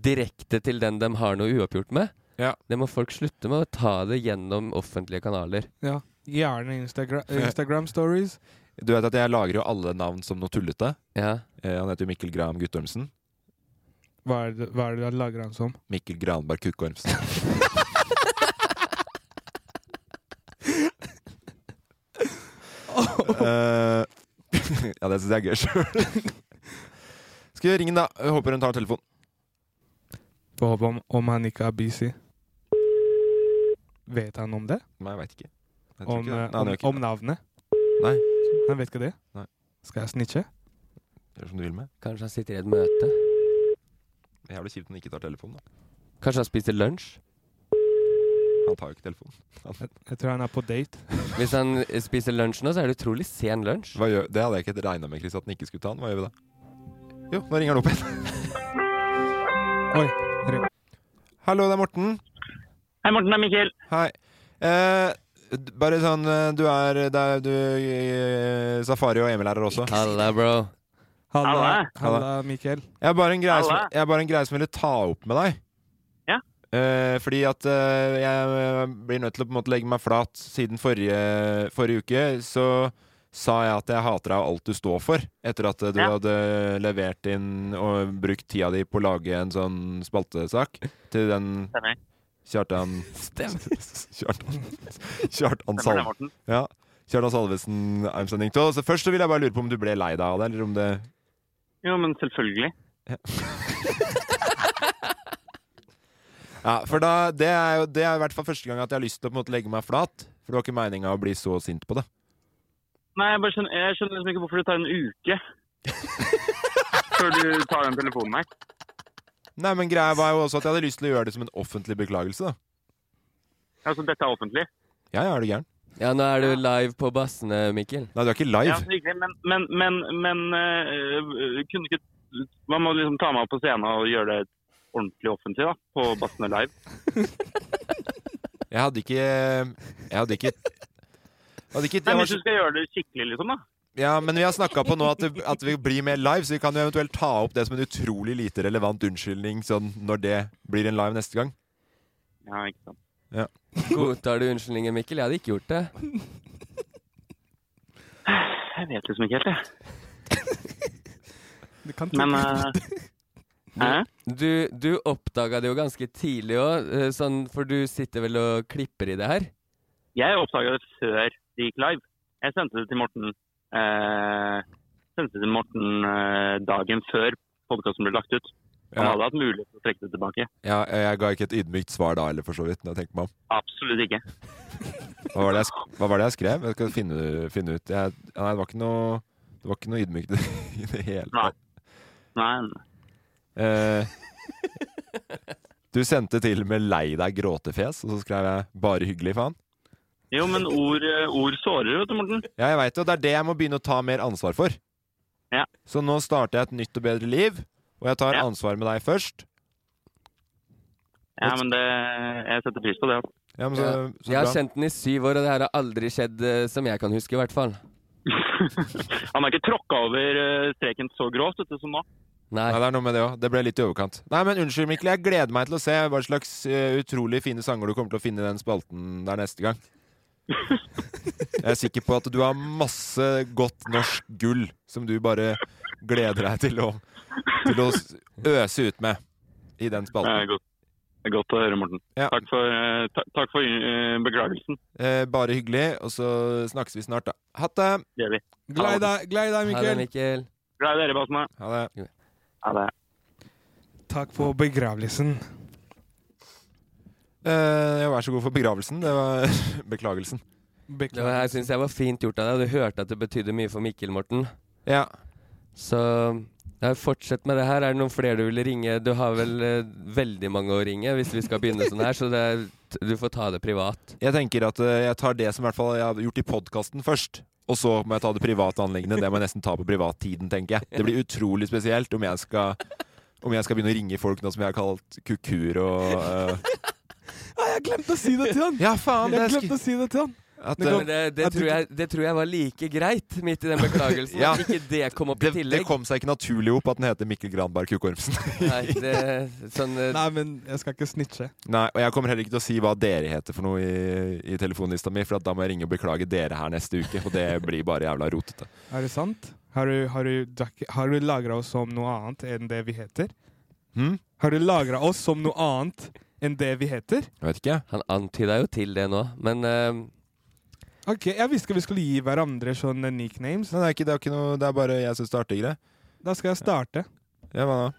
Speaker 2: direkte til den de har noe uoppgjort med.
Speaker 3: Ja.
Speaker 2: Det må folk slutte med å ta det gjennom offentlige kanaler.
Speaker 1: Ja. Gjerne Instagra Instagram stories.
Speaker 3: Du vet at jeg lager jo alle navn som noe tullete.
Speaker 2: Ja.
Speaker 3: Eh, han heter jo Mikkel Graham Guttormsen.
Speaker 1: Hva er det, hva er det du lager han som?
Speaker 3: Mikkel Granberg Kukkormsen. Eh, ja, det syns jeg er gøy sjøl. Skal vi ringe, da? Jeg håper hun tar telefonen.
Speaker 1: Får håpe om, om han ikke er busy. Vet han om det?
Speaker 3: Nei, jeg veit ikke. Jeg tror
Speaker 1: Om,
Speaker 3: ikke det.
Speaker 1: eh,
Speaker 3: Nei, han
Speaker 1: om,
Speaker 3: gjør ikke
Speaker 1: om navnet?
Speaker 3: det. Nei,
Speaker 1: Han vet ikke det?
Speaker 3: Nei.
Speaker 1: Skal jeg snitche?
Speaker 3: gjør som du vil med.
Speaker 2: Kanskje han sitter i et møte?
Speaker 3: Det er Jævlig kjipt om hun ikke tar telefonen. da
Speaker 2: Kanskje han spiser lunsj?
Speaker 3: Han tar jo ikke telefonen.
Speaker 1: Jeg, jeg tror han er på date.
Speaker 2: Hvis han eh, spiser lunsj nå, så er det utrolig sen lunsj.
Speaker 3: Hva gjør, det hadde jeg ikke regna med, Chris, at den ikke skulle ta den. Hva gjør vi da? Jo, nå ringer han opp igjen.
Speaker 1: Oi. ring.
Speaker 3: Hallo, det er Morten.
Speaker 4: Hei, Morten. Det er Mikkel.
Speaker 3: Hei. Eh, d- bare sånn eh, Du er, det er du, eh, Safari og Emil er her også.
Speaker 2: Halla, bro.
Speaker 1: Halla,
Speaker 4: Halla.
Speaker 1: Halla Mikael.
Speaker 3: Jeg har bare en greie, som,
Speaker 4: Halla.
Speaker 3: jeg har bare en greie som jeg ville ta opp med deg.
Speaker 4: Ja.
Speaker 3: Eh, fordi at eh, jeg eh, blir nødt til å på en måte legge meg flat. Siden forrige, forrige uke så sa jeg at jeg hater deg og alt du står for. Etter at eh, du
Speaker 4: Ja.
Speaker 3: hadde levert inn og brukt tida di på å lage en sånn spaltesak til den
Speaker 4: Stemmer.
Speaker 3: Kjartan Kjartan Kjartan
Speaker 4: Stemmer det,
Speaker 3: Salvesen.
Speaker 4: Morten.
Speaker 3: Ja. Kjartan Salvesen, I'm sending to. Så først så vil jeg bare lure på om du ble lei deg av det, eller om det
Speaker 4: Jo, men selvfølgelig.
Speaker 3: Ja, for da, det er jo det er i hvert fall første gang at jeg har lyst til å på en måte legge meg flat. For det var ikke meninga å bli så sint på det.
Speaker 4: Nei, jeg, bare skjønner, jeg skjønner liksom ikke hvorfor det tar en uke før du tar den telefonen her.
Speaker 3: Nei, men greia var jo også at jeg hadde lyst til å gjøre det som en offentlig beklagelse, da.
Speaker 4: Altså, dette er offentlig.
Speaker 3: Ja, ja, er du gæren?
Speaker 2: Ja, nå er du live på bassene, Mikkel.
Speaker 3: Nei, du er ikke
Speaker 4: Ja,
Speaker 3: live.
Speaker 4: riktig. Men, men, men, men øh, øh, kunne ikke Man må liksom ta meg opp på scenen og gjøre det ordentlig offentlig, da. På Bassene Live.
Speaker 3: Jeg hadde ikke Jeg hadde ikke jeg hadde ikke,
Speaker 4: Nei,
Speaker 3: jeg var
Speaker 4: men Hvis
Speaker 3: så,
Speaker 4: du skal gjøre det skikkelig, liksom, da.
Speaker 3: ja, men vi har snakka på nå at, det, at vi blir mer live, så vi kan jo eventuelt ta opp det som en utrolig lite relevant unnskyldning sånn når det blir en live neste gang.
Speaker 4: Ja, ikke sant.
Speaker 2: Godtar du unnskyldningen, Mikkel? Jeg hadde ikke gjort det.
Speaker 4: Jeg vet liksom ikke helt, jeg.
Speaker 1: Du kan tro-
Speaker 4: Men øh, Hæ?
Speaker 2: Du, du oppdaga det jo ganske tidlig òg, sånn, for du sitter vel og klipper i det her?
Speaker 4: Jeg oppdaga det før det gikk live. Jeg sendte det til Morten, eh, sendte det til Morten eh, dagen før podkasten ble lagt ut. Han
Speaker 3: Ja.
Speaker 4: hadde hatt mulighet til å trekke det tilbake.
Speaker 3: Ja, jeg ga ikke et ydmykt svar da heller, for så vidt. Når jeg tenker meg om.
Speaker 4: Absolutt ikke.
Speaker 3: Hva var det jeg, sk hva var det jeg skrev? Jeg skal finne, finne ut. Jeg, nei, det var ikke noe Det var ikke noe ydmykt i det hele
Speaker 4: Nei.
Speaker 3: tatt.
Speaker 4: Nei, nei.
Speaker 3: Eh, du sendte til med 'lei deg gråtefjes', og så skrev jeg 'bare hyggelig', faen.
Speaker 4: Jo, men ord, eh, ord sårer, vet du, Morten.
Speaker 3: Ja, jeg vet det, og det er det jeg må begynne å ta mer ansvar for.
Speaker 4: Ja.
Speaker 3: Så nå starter jeg et nytt og bedre liv, og jeg tar
Speaker 4: Ja.
Speaker 3: ansvar med deg først.
Speaker 4: Ja, men det, jeg setter pris på det. altså.
Speaker 3: Ja, men så, så
Speaker 2: Jeg har
Speaker 3: bra.
Speaker 2: kjent den i syv år, og det her har aldri skjedd eh, som jeg kan huske, i hvert fall.
Speaker 4: Han har ikke tråkka over eh, streken så grovt vet du, som nå.
Speaker 2: Nei.
Speaker 3: Nei, det er noe med det òg. Det ble litt i overkant. Nei, men unnskyld, Mikkel. Jeg gleder meg til å se hva slags eh, utrolig fine sanger du kommer til å finne i den spalten der neste gang. Jeg er sikker på at du har masse godt norsk gull som du bare gleder deg til å, til å s- øse ut med i den
Speaker 4: Det
Speaker 3: spalten.
Speaker 4: er godt, det er godt å høre, Morten.
Speaker 3: Ja.
Speaker 4: Takk for, eh, ta, takk for eh, beklagelsen.
Speaker 3: Eh, bare hyggelig, og så snakkes vi snart, da. Hatt det!
Speaker 4: Det gjør vi.
Speaker 1: Glei deg, glei deg,
Speaker 2: Ha det,
Speaker 1: Mikael.
Speaker 2: Mikkel.
Speaker 4: Glad i dere, Basma.
Speaker 3: Ha det.
Speaker 4: Ha det.
Speaker 1: Takk for begravelsen.
Speaker 3: Eh, ja, vær så god for begravelsen. Det var beklagelsen.
Speaker 2: Det var- jeg syns jeg var fint gjort av deg. Du hørte at det betydde mye for Mikkel, Morten.
Speaker 3: Ja.
Speaker 2: Så ja, fortsett med det her. Er det noen flere du vil ringe? Du har vel eh, veldig mange å ringe hvis vi skal begynne sånn her, så det er, du får ta det privat.
Speaker 3: Jeg tenker at eh, jeg tar det som i hvert fall jeg har gjort i podkasten først. Og så må jeg ta det private anliggende. Det må jeg nesten ta på privattiden, tenker jeg. Det blir utrolig spesielt om jeg skal, om jeg skal begynne å ringe folk nå som jeg har kalt kukuer og eh,
Speaker 1: Ah, jeg glemte å si det til han!
Speaker 3: Ja, faen! Det
Speaker 1: Jeg
Speaker 3: er
Speaker 1: glemte
Speaker 3: sk
Speaker 1: å si det til han!
Speaker 3: at,
Speaker 1: Det
Speaker 3: eh,
Speaker 2: Men det, det,
Speaker 1: at du
Speaker 2: tror jeg, det tror jeg var like greit, midt i den beklagelsen.
Speaker 3: Ja.
Speaker 2: At Ikke det kom opp i
Speaker 3: det, det
Speaker 2: tillegg.
Speaker 3: kom seg ikke naturlig opp at den heter Mikkel Granberg Kukormsen.
Speaker 2: Nei, det, sånn, eh,
Speaker 1: Nei, men jeg skal ikke snitche.
Speaker 3: Nei, Og jeg kommer heller ikke til å si hva dere heter for noe i, i telefonlista mi, for at da må jeg ringe og beklage dere her neste uke, og det blir bare jævla rotete.
Speaker 1: Er det sant? Har du, har du, du er ikke- har du lagra oss som noe annet enn det vi heter?
Speaker 3: Hm?
Speaker 1: Har du lagra oss som noe annet enn det vi heter?
Speaker 3: Jeg vet ikke.
Speaker 2: han antyda jo til det nå, men eh,
Speaker 1: Ok, Jeg visste ikke vi skulle gi hverandre sånne nicknames.
Speaker 3: Nei, det, er ikke, det, er ikke noe, det er bare jeg syns det er artigere.
Speaker 1: Da skal jeg starte.
Speaker 3: Ja, hva da?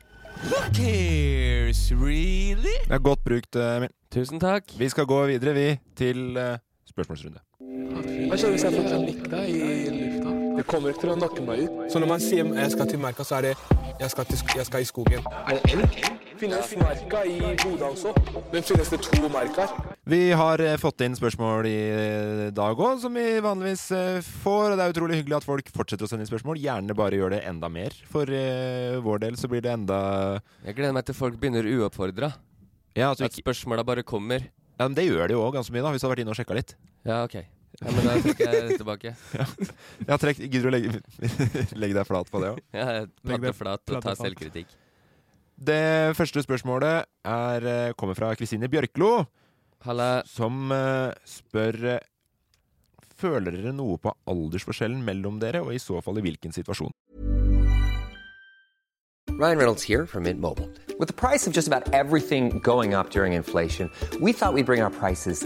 Speaker 3: Det er godt brukt, eh, Emil.
Speaker 2: Tusen takk.
Speaker 3: Vi skal gå videre, vi, til eh, spørsmålsrunde.
Speaker 5: Hva skjer hvis jeg får panikk da i lufta? Det kommer ikke til å nakke meg ut.
Speaker 6: Så når man sier jeg skal til merka, så er det jeg skal, til, sk- jeg skal i skogen.
Speaker 5: Er det elg?
Speaker 6: Finnes merka i Bodø også? Men finnes det to merker?
Speaker 3: Vi har eh, fått inn spørsmål i eh, dag òg, som vi vanligvis eh, får. Og det er utrolig hyggelig at folk fortsetter å sende inn spørsmål. Gjerne bare gjør det enda mer. For eh, vår del så blir det enda
Speaker 2: Jeg gleder meg til folk begynner uoppfordra.
Speaker 3: Ja, at du
Speaker 2: At
Speaker 3: ikke,
Speaker 2: spørsmåla bare kommer.
Speaker 3: ja men det gjør det jo òg ganske mye, da, hvis du har vært inne og sjekka litt.
Speaker 2: Ja, OK. Ja, men da trekker jeg det tilbake.
Speaker 3: Jeg har trekt, Gidder du å legge, legge deg flat på det òg?
Speaker 2: Ja,
Speaker 1: Legg
Speaker 2: Platte
Speaker 1: deg
Speaker 2: flat er og
Speaker 1: platte
Speaker 2: ta
Speaker 1: flat.
Speaker 2: selvkritikk.
Speaker 3: Det første spørsmålet er, eh, kommer fra Kristine Bjørklo.
Speaker 2: Halla.
Speaker 3: som eh, spør eh, Føler dere noe på aldersforskjellen mellom dere, og i så fall i hvilken situasjon?
Speaker 7: Ryan Reynolds here from Mint Mobile. With the price of just about everything going up during inflation, we thought we'd bring our prices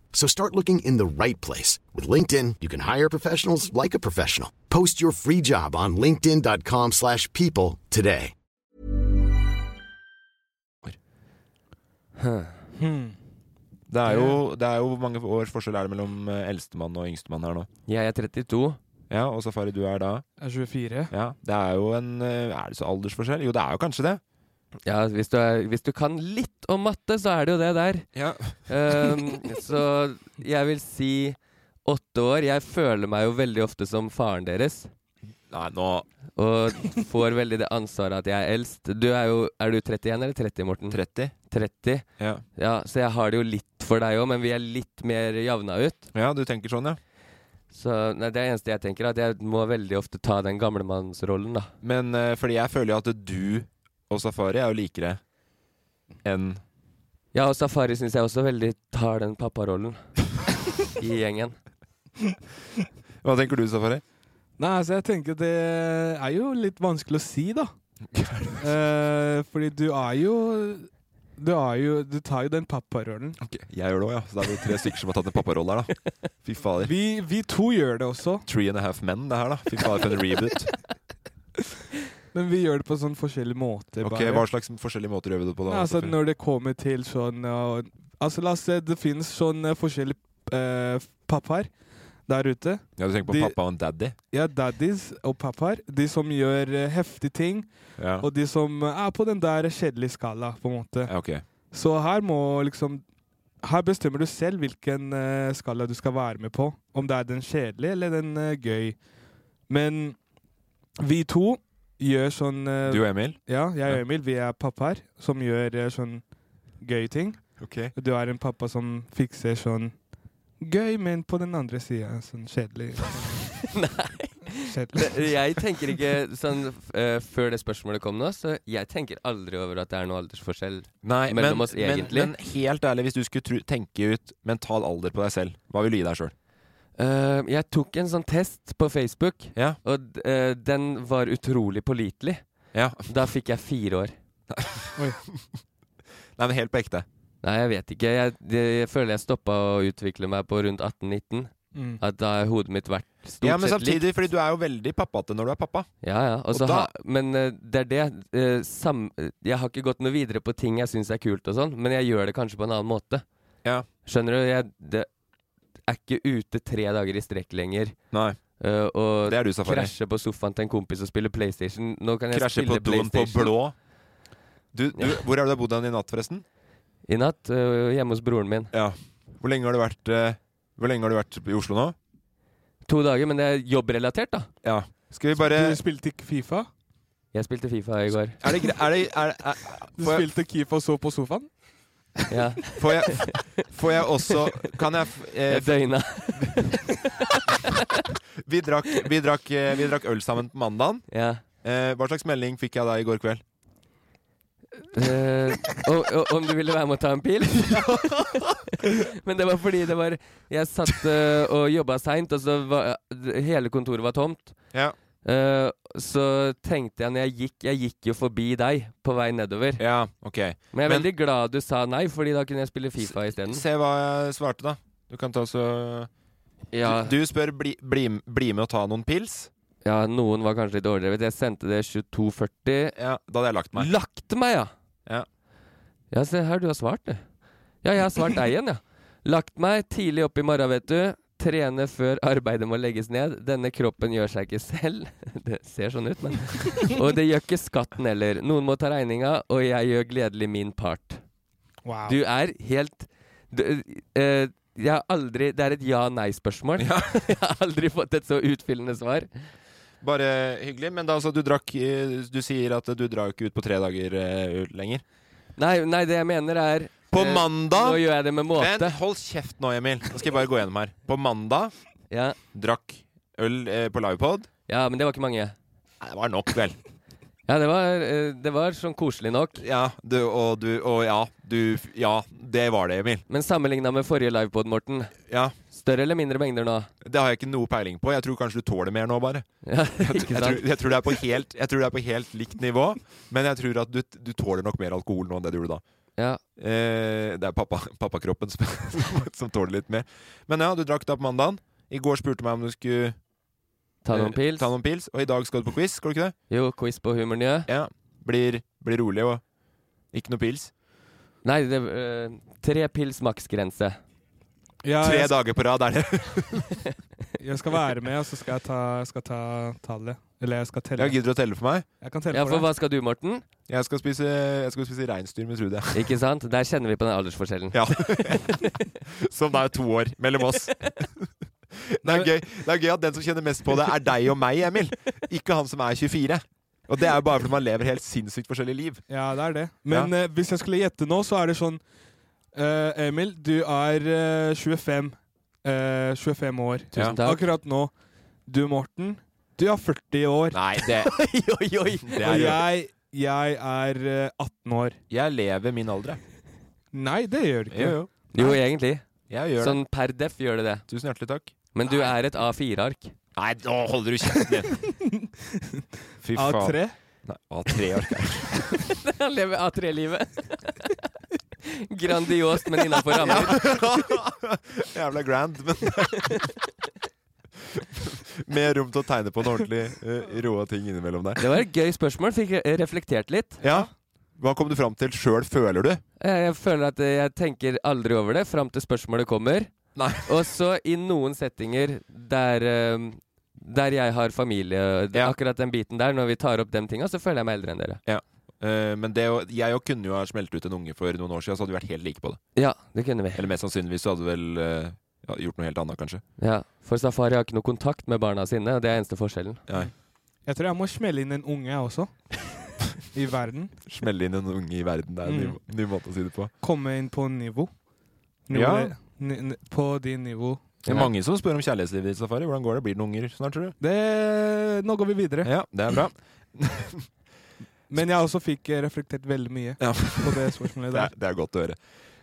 Speaker 8: So start looking in the right place. With LinkedIn, you can hire professionals like a professional. Post your free job on linkedin.com/people slash people today.
Speaker 1: Hmm,
Speaker 3: Det er jo, det er jo Hvor mange års forskjell er det mellom eh, eldstemann og yngstemann her nå?
Speaker 2: Jeg er 32.
Speaker 3: Ja, Og Safari, du er da?
Speaker 1: Jeg er 24.
Speaker 3: Ja, Det er jo en eh, Er det så aldersforskjell? Jo, det er jo kanskje det.
Speaker 2: Ja, hvis du, er, hvis du kan litt om matte, så er det jo det der.
Speaker 3: Ja,
Speaker 2: Ehm, så jeg vil si åtte år. Jeg føler meg jo veldig ofte som faren deres.
Speaker 3: Nei, nå
Speaker 2: Og får veldig det ansvaret at jeg er eldst. Du er jo Er du 31 eller 30, Morten?
Speaker 3: 30.
Speaker 2: 30.
Speaker 3: Ja,
Speaker 2: Ja, så jeg har det jo litt for deg òg, men vi er litt mer javna ut.
Speaker 3: ja du tenker sånn, ja.
Speaker 2: Så nei, det er eneste jeg tenker, at jeg må veldig ofte ta den gamlemannsrollen, da.
Speaker 3: Men eh, fordi jeg føler jo at du og Safari er jo likere enn
Speaker 2: Ja, og Safari syns jeg også veldig tar den papparollen i gjengen.
Speaker 3: Hva tenker du, Safari?
Speaker 1: Nei, altså jeg tenker det er jo litt vanskelig å si, da. Eh, fordi du er jo Du er jo Du tar jo den papparollen.
Speaker 3: Jeg gjør det òg, ja. Så da er vi tre stykker som har tatt en papparolle her, da. Fy fader.
Speaker 1: Vi, vi to gjør det også,
Speaker 3: Three and a half men, det her, da. Fy faen, for en reboot.
Speaker 1: men vi gjør det på sånn forskjellige måter.
Speaker 3: Ok,
Speaker 1: bare.
Speaker 3: Hva slags forskjellige måter gjør vi det på? da?
Speaker 1: Nei, altså
Speaker 3: Sofie?
Speaker 1: Når det kommer til sånn ja, Altså La oss se, det finnes sånn eh, forskjellige eh, pappaer der ute.
Speaker 3: ja, Du tenker på
Speaker 1: de-
Speaker 3: pappa og daddy?
Speaker 1: Ja, daddies og pappaer. De som gjør eh, heftige ting,
Speaker 3: Ja.
Speaker 1: og eh, de som er på den der kjedelige skala, på en måte.
Speaker 3: ja, ok.
Speaker 1: Så her må liksom Her bestemmer du selv hvilken eh, skala du skal være med på. Om det er den kjedelige eller den eh, gøy. Men vi to gjør sånn eh,
Speaker 3: Du og Emil?
Speaker 1: Ja, jeg og Emil. Vi er pappaer som gjør eh, sånn gøy ting.
Speaker 3: Ok.
Speaker 1: Du er en pappa som fikser sånn gøy, men på den andre sida sånn kjedelig.
Speaker 2: Nei.
Speaker 1: Kjedelig.
Speaker 2: Det- eh, Jeg tenker ikke sånn f- eh, Før det spørsmålet kom nå, så jeg tenker aldri over at det er noe aldersforskjell
Speaker 3: Nei,
Speaker 2: mellom
Speaker 3: men,
Speaker 2: oss egentlig.
Speaker 3: Men, men helt ærlig, hvis du skulle tru, tenke ut mental alder på deg selv, hva vil du gi deg sjøl?
Speaker 2: Eh, jeg tok en sånn test på Facebook, og d- eh, den var utrolig pålitelig. Da fikk jeg fire år.
Speaker 3: Nei, men helt på ekte.
Speaker 2: Nei, jeg vet ikke. Jeg, det, jeg føler jeg stoppa å utvikle meg på rundt 18-19.
Speaker 3: Mm.
Speaker 2: At da har hodet mitt vært stort
Speaker 3: Ja, men
Speaker 2: sett likt.
Speaker 3: samtidig, fordi du er jo veldig pappate når du er pappa.
Speaker 2: Ja, ja. Og
Speaker 3: Og
Speaker 2: så
Speaker 3: da-
Speaker 2: ha, men eh, det er det eh, sam, Jeg har ikke gått noe videre på ting jeg syns er kult og sånn, men jeg gjør det kanskje på en annen måte. Skjønner du? Jeg det, er ikke ute tre dager i strekk lenger.
Speaker 3: Nei.
Speaker 2: Eh, og
Speaker 3: Det er du, Safari.
Speaker 2: krasje på sofaen til en kompis og spille PlayStation. Nå kan jeg
Speaker 3: Krasje på
Speaker 2: spille
Speaker 3: doen på
Speaker 2: PlayStation.
Speaker 3: blå. Du, du,
Speaker 2: Ja.
Speaker 3: Hvor har du bodd hen i natt, forresten?
Speaker 2: I natt? øh, hjemme hos broren min.
Speaker 3: Ja. Hvor lenge har du vært, eh, hvor lenge har du vært i Oslo nå?
Speaker 2: To dager, men det er jobbrelatert, da.
Speaker 3: Ja. Skal vi bare
Speaker 1: Du spilte ikke Fifa?
Speaker 2: Jeg spilte Fifa i går.
Speaker 3: Er det gre- er det, er, er,
Speaker 1: Du
Speaker 3: får jeg-
Speaker 1: spilte Kifa og så på sofaen?
Speaker 2: Ja.
Speaker 3: Får jeg, får jeg også Kan jeg f- eh,
Speaker 2: Jeg døgna.
Speaker 3: vi, drakk, vi, drakk, eh, vi drakk øl sammen på mandagen.
Speaker 2: Ja.
Speaker 3: Eh, hva slags melding fikk jeg da i går kveld?
Speaker 2: Eh, og, og, om du ville være med å ta en pil? Men det var fordi det var Jeg satt øh, og jobba seint, og så var hele kontoret var tomt.
Speaker 3: Ja.
Speaker 2: Eh, så tenkte jeg når jeg gikk Jeg gikk jo forbi deg på vei nedover.
Speaker 3: Ja, ok
Speaker 2: Men jeg er
Speaker 3: Men-
Speaker 2: veldig glad du sa nei, Fordi da kunne jeg spille Fifa isteden.
Speaker 3: Se hva jeg svarte, da. Du kan ta så
Speaker 2: Ja.
Speaker 3: du, du spør bli, bli, bli med og ta noen pils.
Speaker 2: Ja, noen var kanskje litt overdrevet. Jeg sendte det 22.40.
Speaker 3: Ja, da hadde jeg lagt meg.
Speaker 2: Lagt meg, ja!
Speaker 3: Ja,
Speaker 2: Ja, se her, du har svart, du. Ja, jeg har svart deg igjen, ja. Lagt meg tidlig opp i morgen, vet du. Trene før arbeidet må legges ned. Denne kroppen gjør seg ikke selv. Det ser sånn ut, men. Og det gjør ikke skatten heller. Noen må ta regninga, og jeg gjør gledelig min part.
Speaker 1: Wow.
Speaker 2: Du er helt du, eh, Jeg har aldri Det er et ja-nei-spørsmål. jeg har aldri fått et så utfyllende svar.
Speaker 3: Bare hyggelig. Men da, altså, du drakk eh, Du sier at du drar jo ikke ut på tre dager eh, lenger.
Speaker 2: Nei, nei, det jeg mener er
Speaker 3: På
Speaker 2: eh,
Speaker 3: mandag
Speaker 2: Nå gjør jeg det med måte.
Speaker 3: Men hold kjeft nå, Emil. Nå skal jeg bare gå gjennom her. På mandag drakk øl eh, på livepod.
Speaker 2: Ja, men det var ikke mange.
Speaker 3: Nei, det var nok, vel.
Speaker 2: Ja, det var, eh, det var sånn koselig nok.
Speaker 3: Ja, du, og du Og ja, du Ja, det var det, Emil.
Speaker 2: Men sammenligna med forrige livepod, Morten.
Speaker 3: Ja.
Speaker 2: Større eller mindre mengder nå?
Speaker 3: Det har jeg ikke noe peiling på. Jeg tror kanskje du tåler mer nå, bare.
Speaker 2: Ja,
Speaker 3: jeg,
Speaker 2: ikke
Speaker 3: jeg, tror,
Speaker 2: sant?
Speaker 3: jeg, tror det er på helt, jeg tror det er på helt likt nivå, men jeg tror at du, du tåler nok mer alkohol nå enn det du gjorde da.
Speaker 2: Ja.
Speaker 3: Eh, det er pappa- pappakroppen som, som tåler litt mer. Men ja, du drakk da på mandagen. I går spurte meg om du skulle
Speaker 2: Ta noen
Speaker 3: eh,
Speaker 2: pils.
Speaker 3: ta noen pils. Og i dag skal du på quiz, skal du ikke det?
Speaker 2: Jo, quiz på humornjø.
Speaker 3: Ja. Blir, blir rolig og ikke noe pils.
Speaker 2: Nei, det, eh, tre pils maksgrense.
Speaker 1: Ja,
Speaker 3: Tre
Speaker 1: jeg-
Speaker 3: dager på rad er det.
Speaker 1: Jeg skal være med, og så skal jeg ta, skal ta tallet. Eller jeg skal telle.
Speaker 3: Jeg gidder å telle for meg.
Speaker 1: Jeg kan telle
Speaker 2: Ja,
Speaker 1: for
Speaker 2: for
Speaker 1: deg.
Speaker 2: hva skal du, Morten?
Speaker 3: Jeg skal spise, jeg skal spise reinsdyr med Trude.
Speaker 2: Ikke sant? Der kjenner vi på den aldersforskjellen.
Speaker 3: Ja. Som da er to år mellom oss. Det er, gøy. det er gøy at den som kjenner mest på det, er deg og meg, Emil. Ikke han som er 24. Og det er jo bare fordi man lever helt sinnssykt forskjellige liv.
Speaker 1: Ja, det er det. Men eh, hvis jeg skulle gjette nå, så er det sånn eh, Emil, du er eh, 25. eh, 25 år.
Speaker 2: Tusen takk.
Speaker 1: Akkurat nå. Du, Morten, du er 40 år.
Speaker 3: Nei, det
Speaker 2: Oi, oi, oi!
Speaker 3: Det
Speaker 1: og
Speaker 3: er jo
Speaker 1: jeg, jeg er eh, 18 år.
Speaker 3: Jeg lever min alder, jeg.
Speaker 1: Nei, det gjør du ikke.
Speaker 3: Jo, jo.
Speaker 2: Jo, egentlig.
Speaker 3: Jeg gjør
Speaker 2: Sånn per def gjør det det.
Speaker 3: det. Tusen hjertelig takk.
Speaker 2: Men du er et A4-ark.
Speaker 3: Nei, nå holder du kjeften din! Fy faen.
Speaker 1: A3.
Speaker 3: Nei, A3 orker jeg ikke.
Speaker 2: Han lever A3-livet. Grandiost, men innafor rammer.
Speaker 3: Jævla grand, men Mer rom til å tegne på noen ordentlig uh, rå ting innimellom der.
Speaker 2: Det var et gøy spørsmål. Fikk re- reflektert litt.
Speaker 3: Ja. Hva kom du fram til sjøl, føler du?
Speaker 2: Jeg jeg føler at eh, jeg tenker aldri over det fram til spørsmålet kommer.
Speaker 3: Nei.
Speaker 2: Og så i noen settinger der eh, der jeg har familie, d-
Speaker 3: Ja.
Speaker 2: akkurat den biten der, når vi tar opp de tinga, så føler jeg meg eldre enn dere.
Speaker 3: Eh, men det, å- jeg òg kunne jo ha smelt ut en unge for noen år siden, så hadde vi vært helt like på det.
Speaker 2: Ja, det kunne vi.
Speaker 3: Eller mest sannsynligvis så hadde vi vel eh, ja, gjort noe helt annet, kanskje.
Speaker 2: Ja, For Safari har ikke noe kontakt med barna sine, og det er eneste forskjellen.
Speaker 1: Jeg tror jeg må smelle inn en unge, jeg også. I verden.
Speaker 3: Smelle inn en unge i verden, det er en
Speaker 1: Mm.
Speaker 3: ny, ny måte å si det på.
Speaker 1: Komme inn på nivå. nivå
Speaker 3: Ja.
Speaker 1: ni, ni, på din nivå.
Speaker 3: Det er mange som spør om kjærlighetslivet ditt, Safari. Hvordan går det? Blir det noen unger snart, tror du?
Speaker 1: Det, nå går vi videre.
Speaker 3: Ja, det er bra.
Speaker 1: Men jeg også fikk eh, reflektert veldig mye på det spørsmålet
Speaker 3: Det
Speaker 1: der.
Speaker 3: er, det er godt å høre.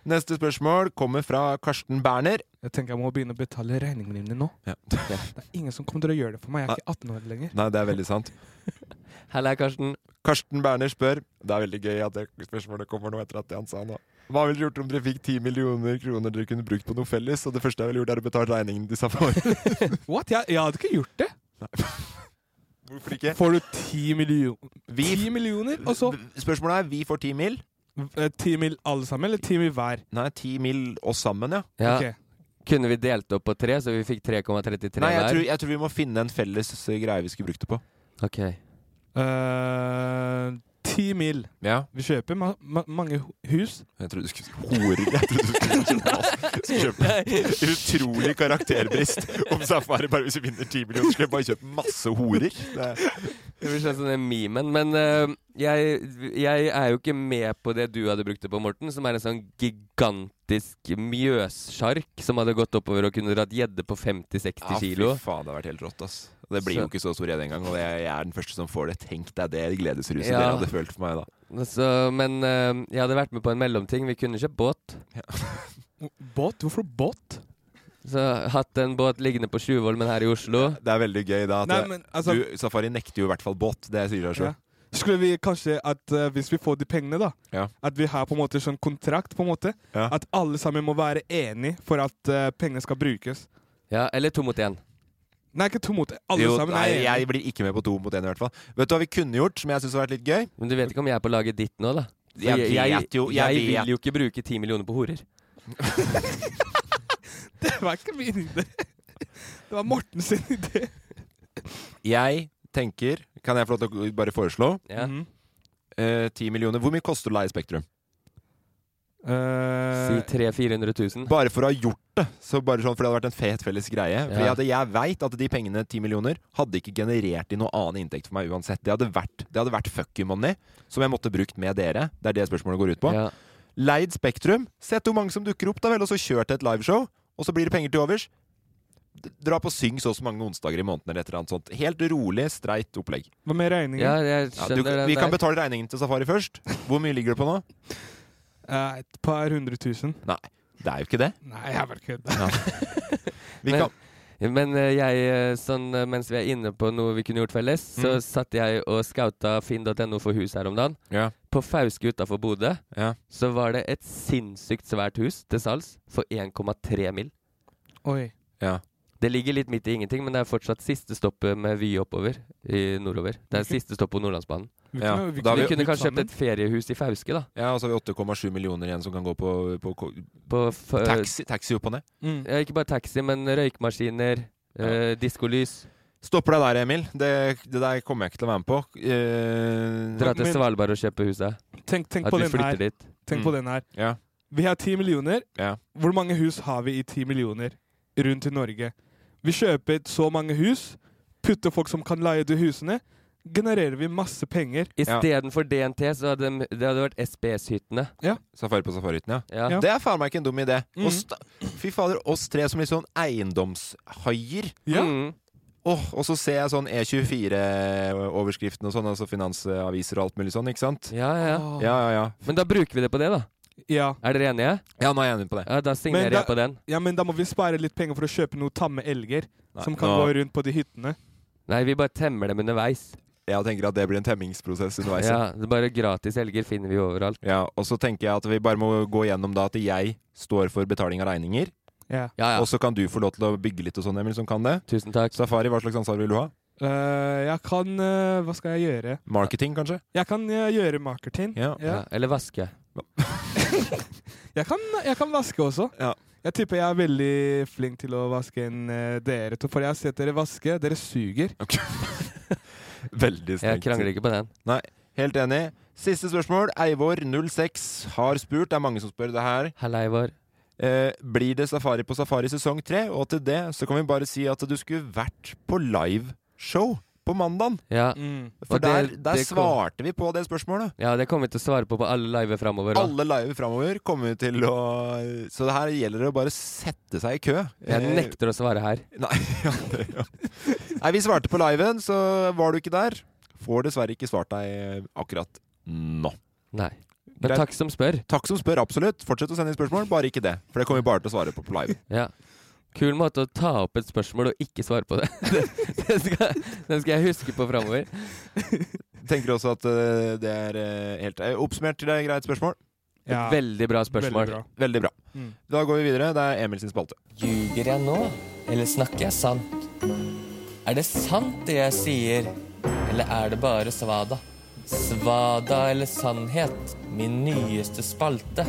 Speaker 3: Neste spørsmål kommer fra Karsten Berner.
Speaker 1: Jeg tenker jeg må begynne å betale regningene mine nå.
Speaker 3: Ja.
Speaker 1: Det er ingen som kommer til å gjøre det for meg. Jeg er ikke 18 år lenger.
Speaker 3: Nei, det er veldig sant.
Speaker 2: Halla, Karsten.
Speaker 3: Karsten Berner spør Det er veldig gøy at det spørsmålet kommer nå etter at det han sa nå. Hva ville dere gjort om dere fikk 10 millioner kroner dere kunne brukt på noe felles, og det første jeg ville gjort, er å betale regningen til Safari?
Speaker 1: What? Jeg, jeg hadde ikke gjort det.
Speaker 3: Hvorfor ikke?
Speaker 1: Får du ti millioner?
Speaker 3: Vi-
Speaker 1: Ti millioner, og så
Speaker 3: Spørsmålet er vi får 10 mil.
Speaker 1: eh, ti mil alle sammen, eller ti mil hver?
Speaker 3: Nei, 10 mil oss sammen, ja.
Speaker 2: Ja.
Speaker 1: Ok.
Speaker 2: Kunne vi delt opp på tre, så vi fikk 3,33
Speaker 3: Nei, jeg
Speaker 2: hver?
Speaker 3: tror, jeg tror vi må finne en felles eh, greie vi skulle brukt det på.
Speaker 2: Ok.
Speaker 1: Eh, Ti mil.
Speaker 3: Ja,
Speaker 1: Vi kjøper ma ma mange hu- hus.
Speaker 3: Jeg trodde du skulle si horer. Jeg trodde du skulle kjøpe masse. Skulle kjøpe utrolig karakterbrist om Safari bare hvis vi vinner 10 millioner. Skulle jeg bare kjøpe masse horer. Det er
Speaker 2: Det blir sånn som den memen. Men eh, jeg, jeg er jo ikke med på det du hadde brukt det på, Morten, som er en sånn gigantisk mjøssjark som hadde gått oppover og kunne dratt gjedde på 50-60 kilo.
Speaker 3: fy faen, det har vært helt rått, ass. Det blir jo
Speaker 2: Så-
Speaker 3: ikke så stor gjedde engang, og jeg, jeg er den første som får det. Tenk deg det gledesruset
Speaker 2: Ja.
Speaker 3: dere hadde følt for meg da.
Speaker 2: Så, men eh, jeg hadde vært med på en mellomting. Vi kunne kjøpt båt.
Speaker 1: Båt? Hvorfor båt?
Speaker 2: Så hatt en båt liggende på Tjuvholmen her i Oslo.
Speaker 3: Det er veldig gøy da at
Speaker 1: Nei, men altså
Speaker 3: du, Safari nekter jo i hvert fall båt. Det sier seg
Speaker 1: ja.
Speaker 3: sjøl.
Speaker 1: Skulle vi kanskje at eh, hvis vi får de pengene, da
Speaker 3: Ja.
Speaker 1: At vi har på en måte sånn kontrakt, på en måte.
Speaker 3: Ja.
Speaker 1: At alle sammen må være enige for at eh, pengene skal brukes.
Speaker 2: Ja, eller to mot én.
Speaker 1: Nei, ikke to mot alle
Speaker 3: Jo,
Speaker 1: sammen.
Speaker 3: nei,
Speaker 1: er enige.
Speaker 3: jeg blir ikke med på to mot én i hvert fall. Vet du hva vi kunne gjort, som jeg syns har vært litt gøy?
Speaker 2: Men du vet ikke om jeg er på laget ditt nå, da? For
Speaker 3: Jeg vet jo- jeg
Speaker 2: jeg
Speaker 3: vet-
Speaker 2: vil jo ikke bruke ti millioner på horer.
Speaker 1: Det var ikke min idé. Det var Morten sin idé.
Speaker 3: Jeg tenker Kan jeg få lov til å bare foreslå?
Speaker 2: Ja.
Speaker 1: Mhm.
Speaker 3: Eh, 10 millioner. Hvor mye koster det å leie Spektrum?
Speaker 2: Si
Speaker 1: Eh,
Speaker 2: 300 000-400 000.
Speaker 3: Bare for å ha gjort det. Så bare sånn, for det hadde vært en fet felles greie. Fordi
Speaker 2: Ja.
Speaker 3: at jeg veit at de pengene, 10 millioner, hadde ikke generert i noe annen inntekt for meg uansett. Det hadde vært, det hadde vært fuck you money som jeg måtte brukt med dere. Det er det spørsmålet går ut på.
Speaker 2: Ja.
Speaker 3: Leid Spektrum. Sett hvor mange som dukker opp, da vel, og så kjør til et liveshow. Og så blir det penger til overs. D- Dra på Syng så og så mange onsdager i måneden eller et eller annet sånt. Helt rolig, streit opplegg.
Speaker 1: Hva med regningen?
Speaker 2: ja, jeg
Speaker 3: Ja, du,
Speaker 2: skjønner det.
Speaker 3: vi kan betale regningen til Safari først. Hvor mye ligger det på nå?
Speaker 1: Eh, et par hundre tusen.
Speaker 3: Det er jo ikke det.
Speaker 1: Nei, jeg bare kødder.
Speaker 3: Vi
Speaker 2: Men-
Speaker 3: kan,
Speaker 2: Men eh, jeg, eh, sånn, eh, mens vi er inne på noe vi kunne gjort felles, så
Speaker 1: Mm.
Speaker 2: satt jeg og scouta finn.no for hus her om dagen.
Speaker 3: Ja.
Speaker 2: På Fauske utafor Bodø
Speaker 3: Ja.
Speaker 2: så var det et sinnssykt svært hus til salgs for 1,3 mill.
Speaker 1: Oi.
Speaker 3: ja.
Speaker 2: Det ligger litt midt i ingenting, men det er fortsatt siste stoppet med vy oppover i nordover. Det er
Speaker 1: Ok.
Speaker 2: siste stopp på Nordlandsbanen.
Speaker 1: Vi
Speaker 3: Ja,
Speaker 1: kunne, vi
Speaker 3: og da har
Speaker 2: Vi
Speaker 1: kunne,
Speaker 2: kunne
Speaker 1: bytte
Speaker 2: kanskje
Speaker 1: sammen.
Speaker 2: kjøpt et feriehus i Fauske, da.
Speaker 3: Ja, og så har vi 8,7 millioner igjen som kan gå på, på ko-
Speaker 2: På f
Speaker 3: taxi, taxi opp og ned.
Speaker 1: Mm.
Speaker 2: eh, Ikke bare taxi, men røykmaskiner, eh, diskolys.
Speaker 3: Stopper deg der, Emil. Det, det der kommer jeg ikke til å være med på. Eh,
Speaker 2: Dra til
Speaker 1: Men-
Speaker 2: Svalbard og kjøpe huset.
Speaker 1: Tenk, tenk,
Speaker 2: At
Speaker 1: på
Speaker 2: vi
Speaker 1: den her.
Speaker 2: flytter dit.
Speaker 1: tenk på den her.
Speaker 3: ja.
Speaker 1: Vi har ti millioner.
Speaker 3: Ja.
Speaker 1: Hvor mange hus har vi i ti millioner rundt i Norge? Vi kjøper så mange hus, putter folk som kan leie de husene, genererer vi masse penger.
Speaker 3: Ja.
Speaker 2: Istedenfor DNT, så hadde de, det hadde vært SBS-hyttene.
Speaker 3: Safari på safarihytten, ja.
Speaker 2: Ja.
Speaker 1: Ja.
Speaker 3: Det er faen meg ikke en dum idé.
Speaker 1: Mhm.
Speaker 3: Og sta- fy fader, oss tre som litt sånn eiendomshaier.
Speaker 2: Mm.
Speaker 3: Åh, og så ser jeg sånn E24-overskriften og sånn, altså finansaviser og alt mulig sånn, ikke sant?
Speaker 2: ja, ja.
Speaker 1: Åh.
Speaker 3: Ja, ja, ja.
Speaker 2: Men da bruker vi det på det, da.
Speaker 1: Ja.
Speaker 2: Er dere enige?
Speaker 3: Ja, nå er jeg enig på det.
Speaker 2: Ja, Da signerer
Speaker 1: Men da-
Speaker 2: jeg på den.
Speaker 1: ja, men da må vi spare litt penger for å kjøpe noen tamme elger
Speaker 3: Nei,
Speaker 1: som kan
Speaker 3: nå-
Speaker 1: gå rundt på de hyttene.
Speaker 2: Nei, vi bare temmer dem underveis.
Speaker 3: Jeg tenker at det blir en temmingsprosess underveis. Ja.
Speaker 2: Ja, det er Bare gratis helger finner vi jo overalt.
Speaker 3: og så tenker jeg at vi bare må gå gjennom da at jeg står for betaling av regninger,
Speaker 1: Ja.
Speaker 2: Ja, ja.
Speaker 3: og så kan du få lov til å bygge litt og sånn, Emil, som kan det.
Speaker 2: Tusen takk.
Speaker 3: Safari, hva slags ansvar vil du ha?
Speaker 1: Eh, jeg kan eh, Hva skal jeg gjøre?
Speaker 3: Marketing, kanskje?
Speaker 1: Jeg kan eh, gjøre marketing.
Speaker 3: Ja.
Speaker 2: Ja, eller vaske.
Speaker 1: Jeg, kan, jeg kan vaske også.
Speaker 3: Ja.
Speaker 1: Jeg tipper jeg er veldig flink til å vaske enn eh, dere to, for jeg har sett dere vaske. Dere suger.
Speaker 3: Veldig
Speaker 2: Jeg
Speaker 3: strengt.
Speaker 2: krangler ikke på den.
Speaker 3: Helt enig. Siste spørsmål. Eivor06 har spurt. Det er mange som spør det her. Eh, blir det safari på Safari sesong tre? Og til det så kan vi bare si at du skulle vært på liveshow på mandag.
Speaker 2: Ja.
Speaker 1: Mm.
Speaker 3: For
Speaker 2: Og det-
Speaker 3: der, der
Speaker 2: det kom-
Speaker 3: svarte vi på det spørsmålet.
Speaker 2: Ja, det kommer vi til å svare på på alle live framover.
Speaker 3: Alle live framover kommer vi til å Så det her gjelder det å bare sette seg i kø.
Speaker 2: Jeg
Speaker 3: Eh,
Speaker 2: nekter å svare her.
Speaker 3: Nei, ja, det, ja. Nei, vi svarte på liven, så var du ikke der. Får dessverre ikke svart deg eh, akkurat nå.
Speaker 2: Nei. Men takk som spør.
Speaker 3: Takk som spør, absolutt. Fortsett å sende inn spørsmål, bare ikke det. For det kommer vi bare til å svare på på live.
Speaker 2: Ja. Kul måte å ta opp et spørsmål og ikke svare på det. den, skal, den skal jeg huske på framover.
Speaker 3: Tenker også at eh, det er eh, helt eh, Oppsummert til deg, greit spørsmål?
Speaker 2: Ja. Veldig bra spørsmål.
Speaker 3: Veldig bra. Veldig bra.
Speaker 2: Mm.
Speaker 3: Da går vi videre. Det er Emil sin spalte.
Speaker 2: Ljuger jeg nå, eller snakker jeg sant? Er det sant det jeg sier, eller er det bare svada? Svada eller sannhet, min nyeste spalte.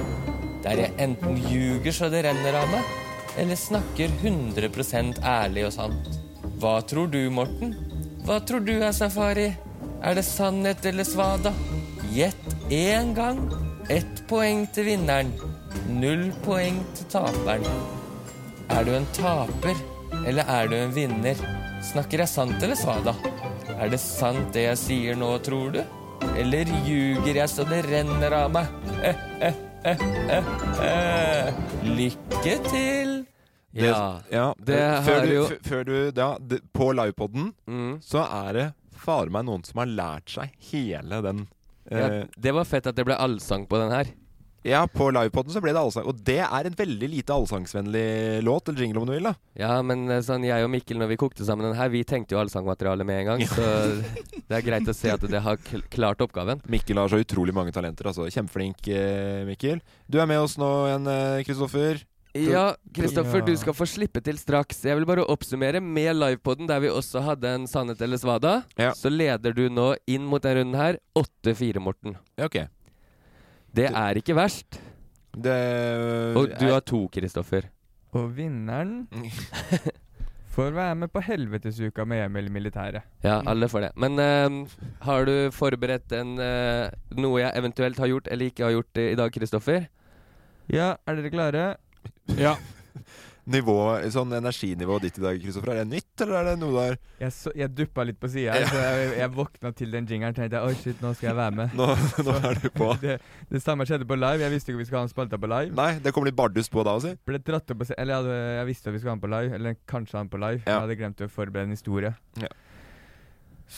Speaker 2: Der jeg enten ljuger så det renner av meg, eller snakker 100 ærlig og sant. Hva tror du, Morten? Hva tror du er safari? Er det sannhet eller svada? Gjett én gang. Ett poeng til vinneren. Null poeng til taperen. Er du en taper, eller er du en vinner? Snakker jeg sant eller svada? Er det sant det jeg sier nå, tror du? Eller ljuger jeg så det renner av meg? Eh, eh, eh, eh, eh. Lykke til!
Speaker 3: Det- ja. Eh,
Speaker 2: det
Speaker 3: før,
Speaker 2: har
Speaker 3: du,
Speaker 2: jo
Speaker 3: f- før du ja, det, På livepoden så er det fader meg noen som har lært seg hele den eh,
Speaker 2: ja, Det var fett at det ble allsang på den her.
Speaker 3: Ja, på livepoden så ble det allsang. Og det er en veldig lite allsangsvennlig låt, eller jingle om du vil, da.
Speaker 2: Ja, men eh, sånn, jeg og Mikkel, når vi kokte sammen den her, vi tenkte jo allsangmateriale med en gang, så det er greit å se at det har kl- klart oppgaven.
Speaker 3: Mikkel har så utrolig mange talenter, altså. Kjempeflink, eh, Mikkel. Du er med oss nå igjen, eh, Kristoffer. Pro-
Speaker 2: Ja, Kristoffer,
Speaker 3: Ja.
Speaker 2: du skal få slippe til straks. Jeg vil bare oppsummere med livepoden, der vi også hadde en Sannhet eller svada. Så leder du nå inn mot den runden her 8-4, Morten.
Speaker 3: Ja, ok.
Speaker 2: Det er ikke verst. Og
Speaker 3: eh,
Speaker 2: du har to, Kristoffer.
Speaker 9: Og vinneren får være med på helvetesuka med Emil i militæret.
Speaker 2: Ja, alle får det. Men ehm, har du forberedt en, eh, noe jeg eventuelt har gjort eller ikke har gjort eh, i dag, Kristoffer?
Speaker 9: Ja, er dere klare?
Speaker 1: Ja.
Speaker 3: Nivå, sånn energinivået ditt i dag, Kristoffer, er det nytt, eller er det noe der
Speaker 9: Jeg, så, jeg duppa litt på sida, så jeg, jeg våkna til den jingeren og tenkte oi, shit, nå skal jeg være med.
Speaker 3: Nå, nå er du på.
Speaker 9: Det, det samme skjedde på live. Jeg visste ikke vi skulle ha en spalte på live.
Speaker 3: Nei, det kom litt bardus på da altså. også.
Speaker 9: Ble dratt opp på se- Eller jeg, hadde, jeg visste at vi skulle ha den på live, eller kanskje ha den på live. men Jeg hadde glemt å forberede en historie.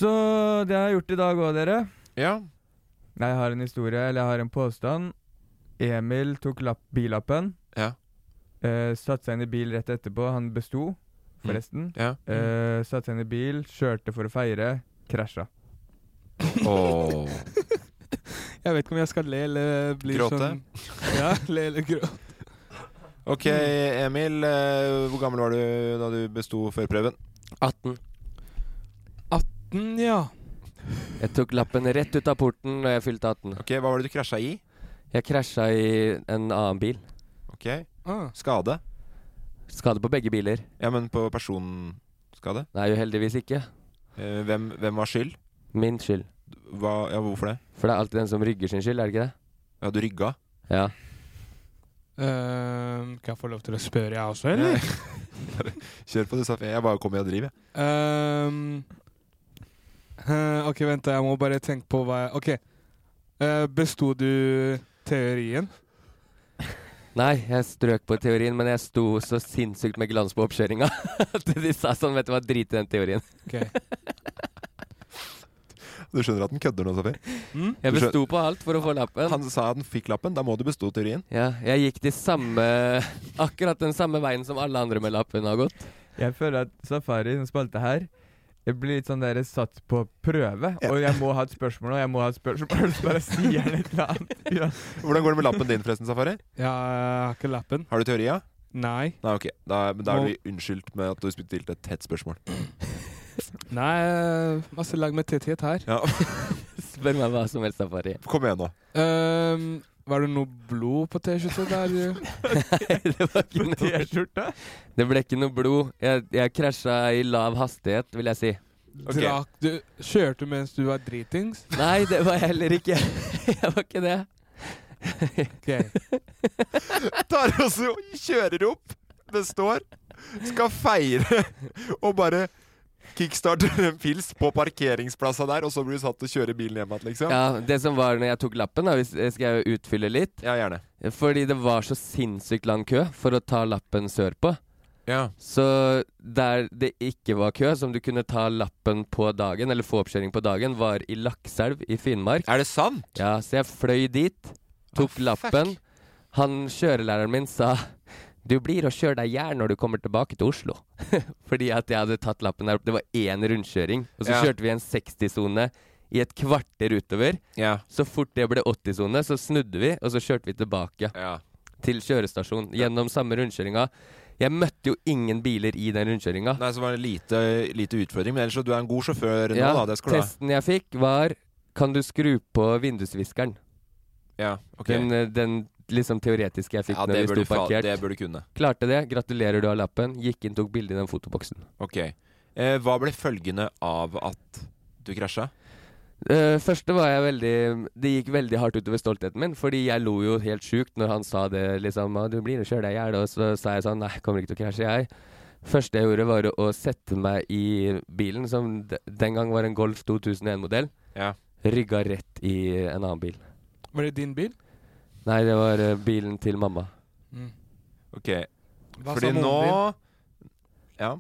Speaker 9: Så det har jeg gjort i dag òg, dere.
Speaker 3: Ja.
Speaker 9: Nei, jeg har en historie, eller jeg har en påstand. Emil tok lapp, billappen.
Speaker 3: Ja.
Speaker 9: Eh, satte seg inn i bil rett etterpå. Han besto, forresten.
Speaker 3: Ja.
Speaker 9: Eh, satte seg inn i bil, kjørte for å feire, krasja.
Speaker 3: Åh.
Speaker 1: Jeg vet ikke om jeg skal le eller bli
Speaker 3: Gråte?
Speaker 1: sånn Ja, le eller gråte.
Speaker 3: Ok, Emil. eh, Hvor gammel var du da du besto førprøven?
Speaker 2: 18.
Speaker 1: 18, ja.
Speaker 2: Jeg tok lappen rett ut av porten da jeg fylte 18.
Speaker 3: Ok, Hva var det du krasja i?
Speaker 2: Jeg krasja i en annen bil.
Speaker 3: Ok.
Speaker 1: Ah.
Speaker 3: Skade?
Speaker 2: Skade på begge biler.
Speaker 3: Ja, men på personskade?
Speaker 2: Nei, jo heldigvis ikke.
Speaker 3: Eh, Hvem, hvem var skyld?
Speaker 2: Min skyld.
Speaker 3: Hva, ja, hvorfor det?
Speaker 2: For det er alltid den som rygger sin skyld, er det ikke det?
Speaker 3: Ja, du rygga?
Speaker 2: Ja.
Speaker 1: Ehm, kan jeg få lov til å spørre, jeg også, eller?
Speaker 3: Bare Kjør på, du sa Jeg bare kommer i og driver, jeg.
Speaker 1: Ehm, eh, ok, vent, da, jeg må bare tenke på hva jeg Ok. Uh, Besto du teorien?
Speaker 2: Nei, jeg strøk på teorien, men jeg sto så sinnssykt med glans på oppkjøringa at de sa sånn, vet du hva, drit i den teorien.
Speaker 3: Du skjønner at han kødder nå, Safi?
Speaker 2: Jeg
Speaker 3: Du skjøn-
Speaker 2: besto på alt for å få lappen.
Speaker 3: Han sa at han fikk lappen. Da må du bestå teorien.
Speaker 2: Ja, jeg gikk de samme Akkurat den samme veien som alle andre med lappen har gått.
Speaker 9: Jeg føler at Safari, den spalte her, jeg blir litt sånn der satt på prøve. Og jeg må ha et spørsmål, og jeg må ha et spørsmål, så bare sier han et eller annet. Ja.
Speaker 3: Hvordan går det med lappen din, forresten, Safari?
Speaker 1: Ja, jeg har ikke lappen.
Speaker 3: Har du teori, ja?
Speaker 1: Nei.
Speaker 3: Nei, ok. Da, men da
Speaker 1: Nå-
Speaker 3: er du unnskyldt med at du stilte et tett spørsmål.
Speaker 1: Nei, eh, masse lag med tetthet her.
Speaker 3: Ja.
Speaker 2: Spør meg hva som helst, Safari.
Speaker 3: Kom igjen nå.
Speaker 1: Ehm, var det noe blod på T-skjorta der?
Speaker 2: det var ikke noe Det ble ikke noe blod. Jeg, jeg krasja i lav hastighet, vil jeg si.
Speaker 3: Ok.
Speaker 1: Drakk du Kjørte du mens du var dritings?
Speaker 2: Nei, det var jeg heller ikke. Jeg var ikke det.
Speaker 3: Tar oss og kjører opp. Det står. Skal feire og bare kickstarter en pils på parkeringsplassen der, og så blir du satt til å kjøre bilen hjem igjen, liksom.
Speaker 2: Ja, Det som var når jeg tok lappen, da, hvis jeg skal jo utfylle litt.
Speaker 3: Ja, gjerne
Speaker 2: Fordi det var så sinnssykt lang kø for å ta lappen sørpå.
Speaker 3: Ja.
Speaker 2: Så der det ikke var kø, som du kunne ta lappen på dagen, eller få oppkjøring på dagen, var i Lakselv i Finnmark.
Speaker 3: Er det sant?
Speaker 2: Ja, så jeg fløy dit, tok lappen. Han kjørelæreren min sa du blir å kjøre deg i hjel når du kommer tilbake til Oslo. Fordi at jeg hadde tatt lappen der oppe. Det var én rundkjøring. Og så
Speaker 3: Ja.
Speaker 2: kjørte vi en 60-sone i et kvarter utover.
Speaker 3: Ja.
Speaker 2: Så fort det ble 80-sone, så snudde vi, og så kjørte vi tilbake til kjørestasjonen. Gjennom samme rundkjøringa. Jeg møtte jo ingen biler i den rundkjøringa.
Speaker 3: Nei, så var det lite, lite utfordring. Men ellers så du er en god sjåfør nå, da. Det skal du ha.
Speaker 2: testen jeg fikk, var Kan du skru på vindusviskeren?
Speaker 3: Ja, ok.
Speaker 2: Den, eh, den liksom teoretiske jeg fikk
Speaker 3: Ja,
Speaker 2: når
Speaker 3: det
Speaker 2: vi
Speaker 3: burde
Speaker 2: sto
Speaker 3: du fa-
Speaker 2: parkert.
Speaker 3: det burde du kunne.
Speaker 2: Klarte det. Gratulerer, du har lappen. Gikk inn, tok bilde i den fotoboksen.
Speaker 3: Ok. Eh, hva ble følgende av at du krasja?
Speaker 2: Eh, første var jeg veldig Det gikk veldig hardt utover stoltheten min, fordi jeg lo jo helt sjukt når han sa det, liksom «Ah, 'Du blir å kjøre deg i hjel', og så sa jeg sånn 'Nei, jeg kommer ikke til å krasje, jeg'. Første jeg gjorde, var å- å sette meg i bilen, som de- den gang var en Golf 2001-modell.
Speaker 3: Ja.
Speaker 2: Rygga rett i en annen bil.
Speaker 1: Var det din bil?
Speaker 2: Nei, det var eh, bilen til mamma.
Speaker 3: Ok.
Speaker 1: Hva sa
Speaker 3: Fordi
Speaker 1: moren
Speaker 3: nå Ja.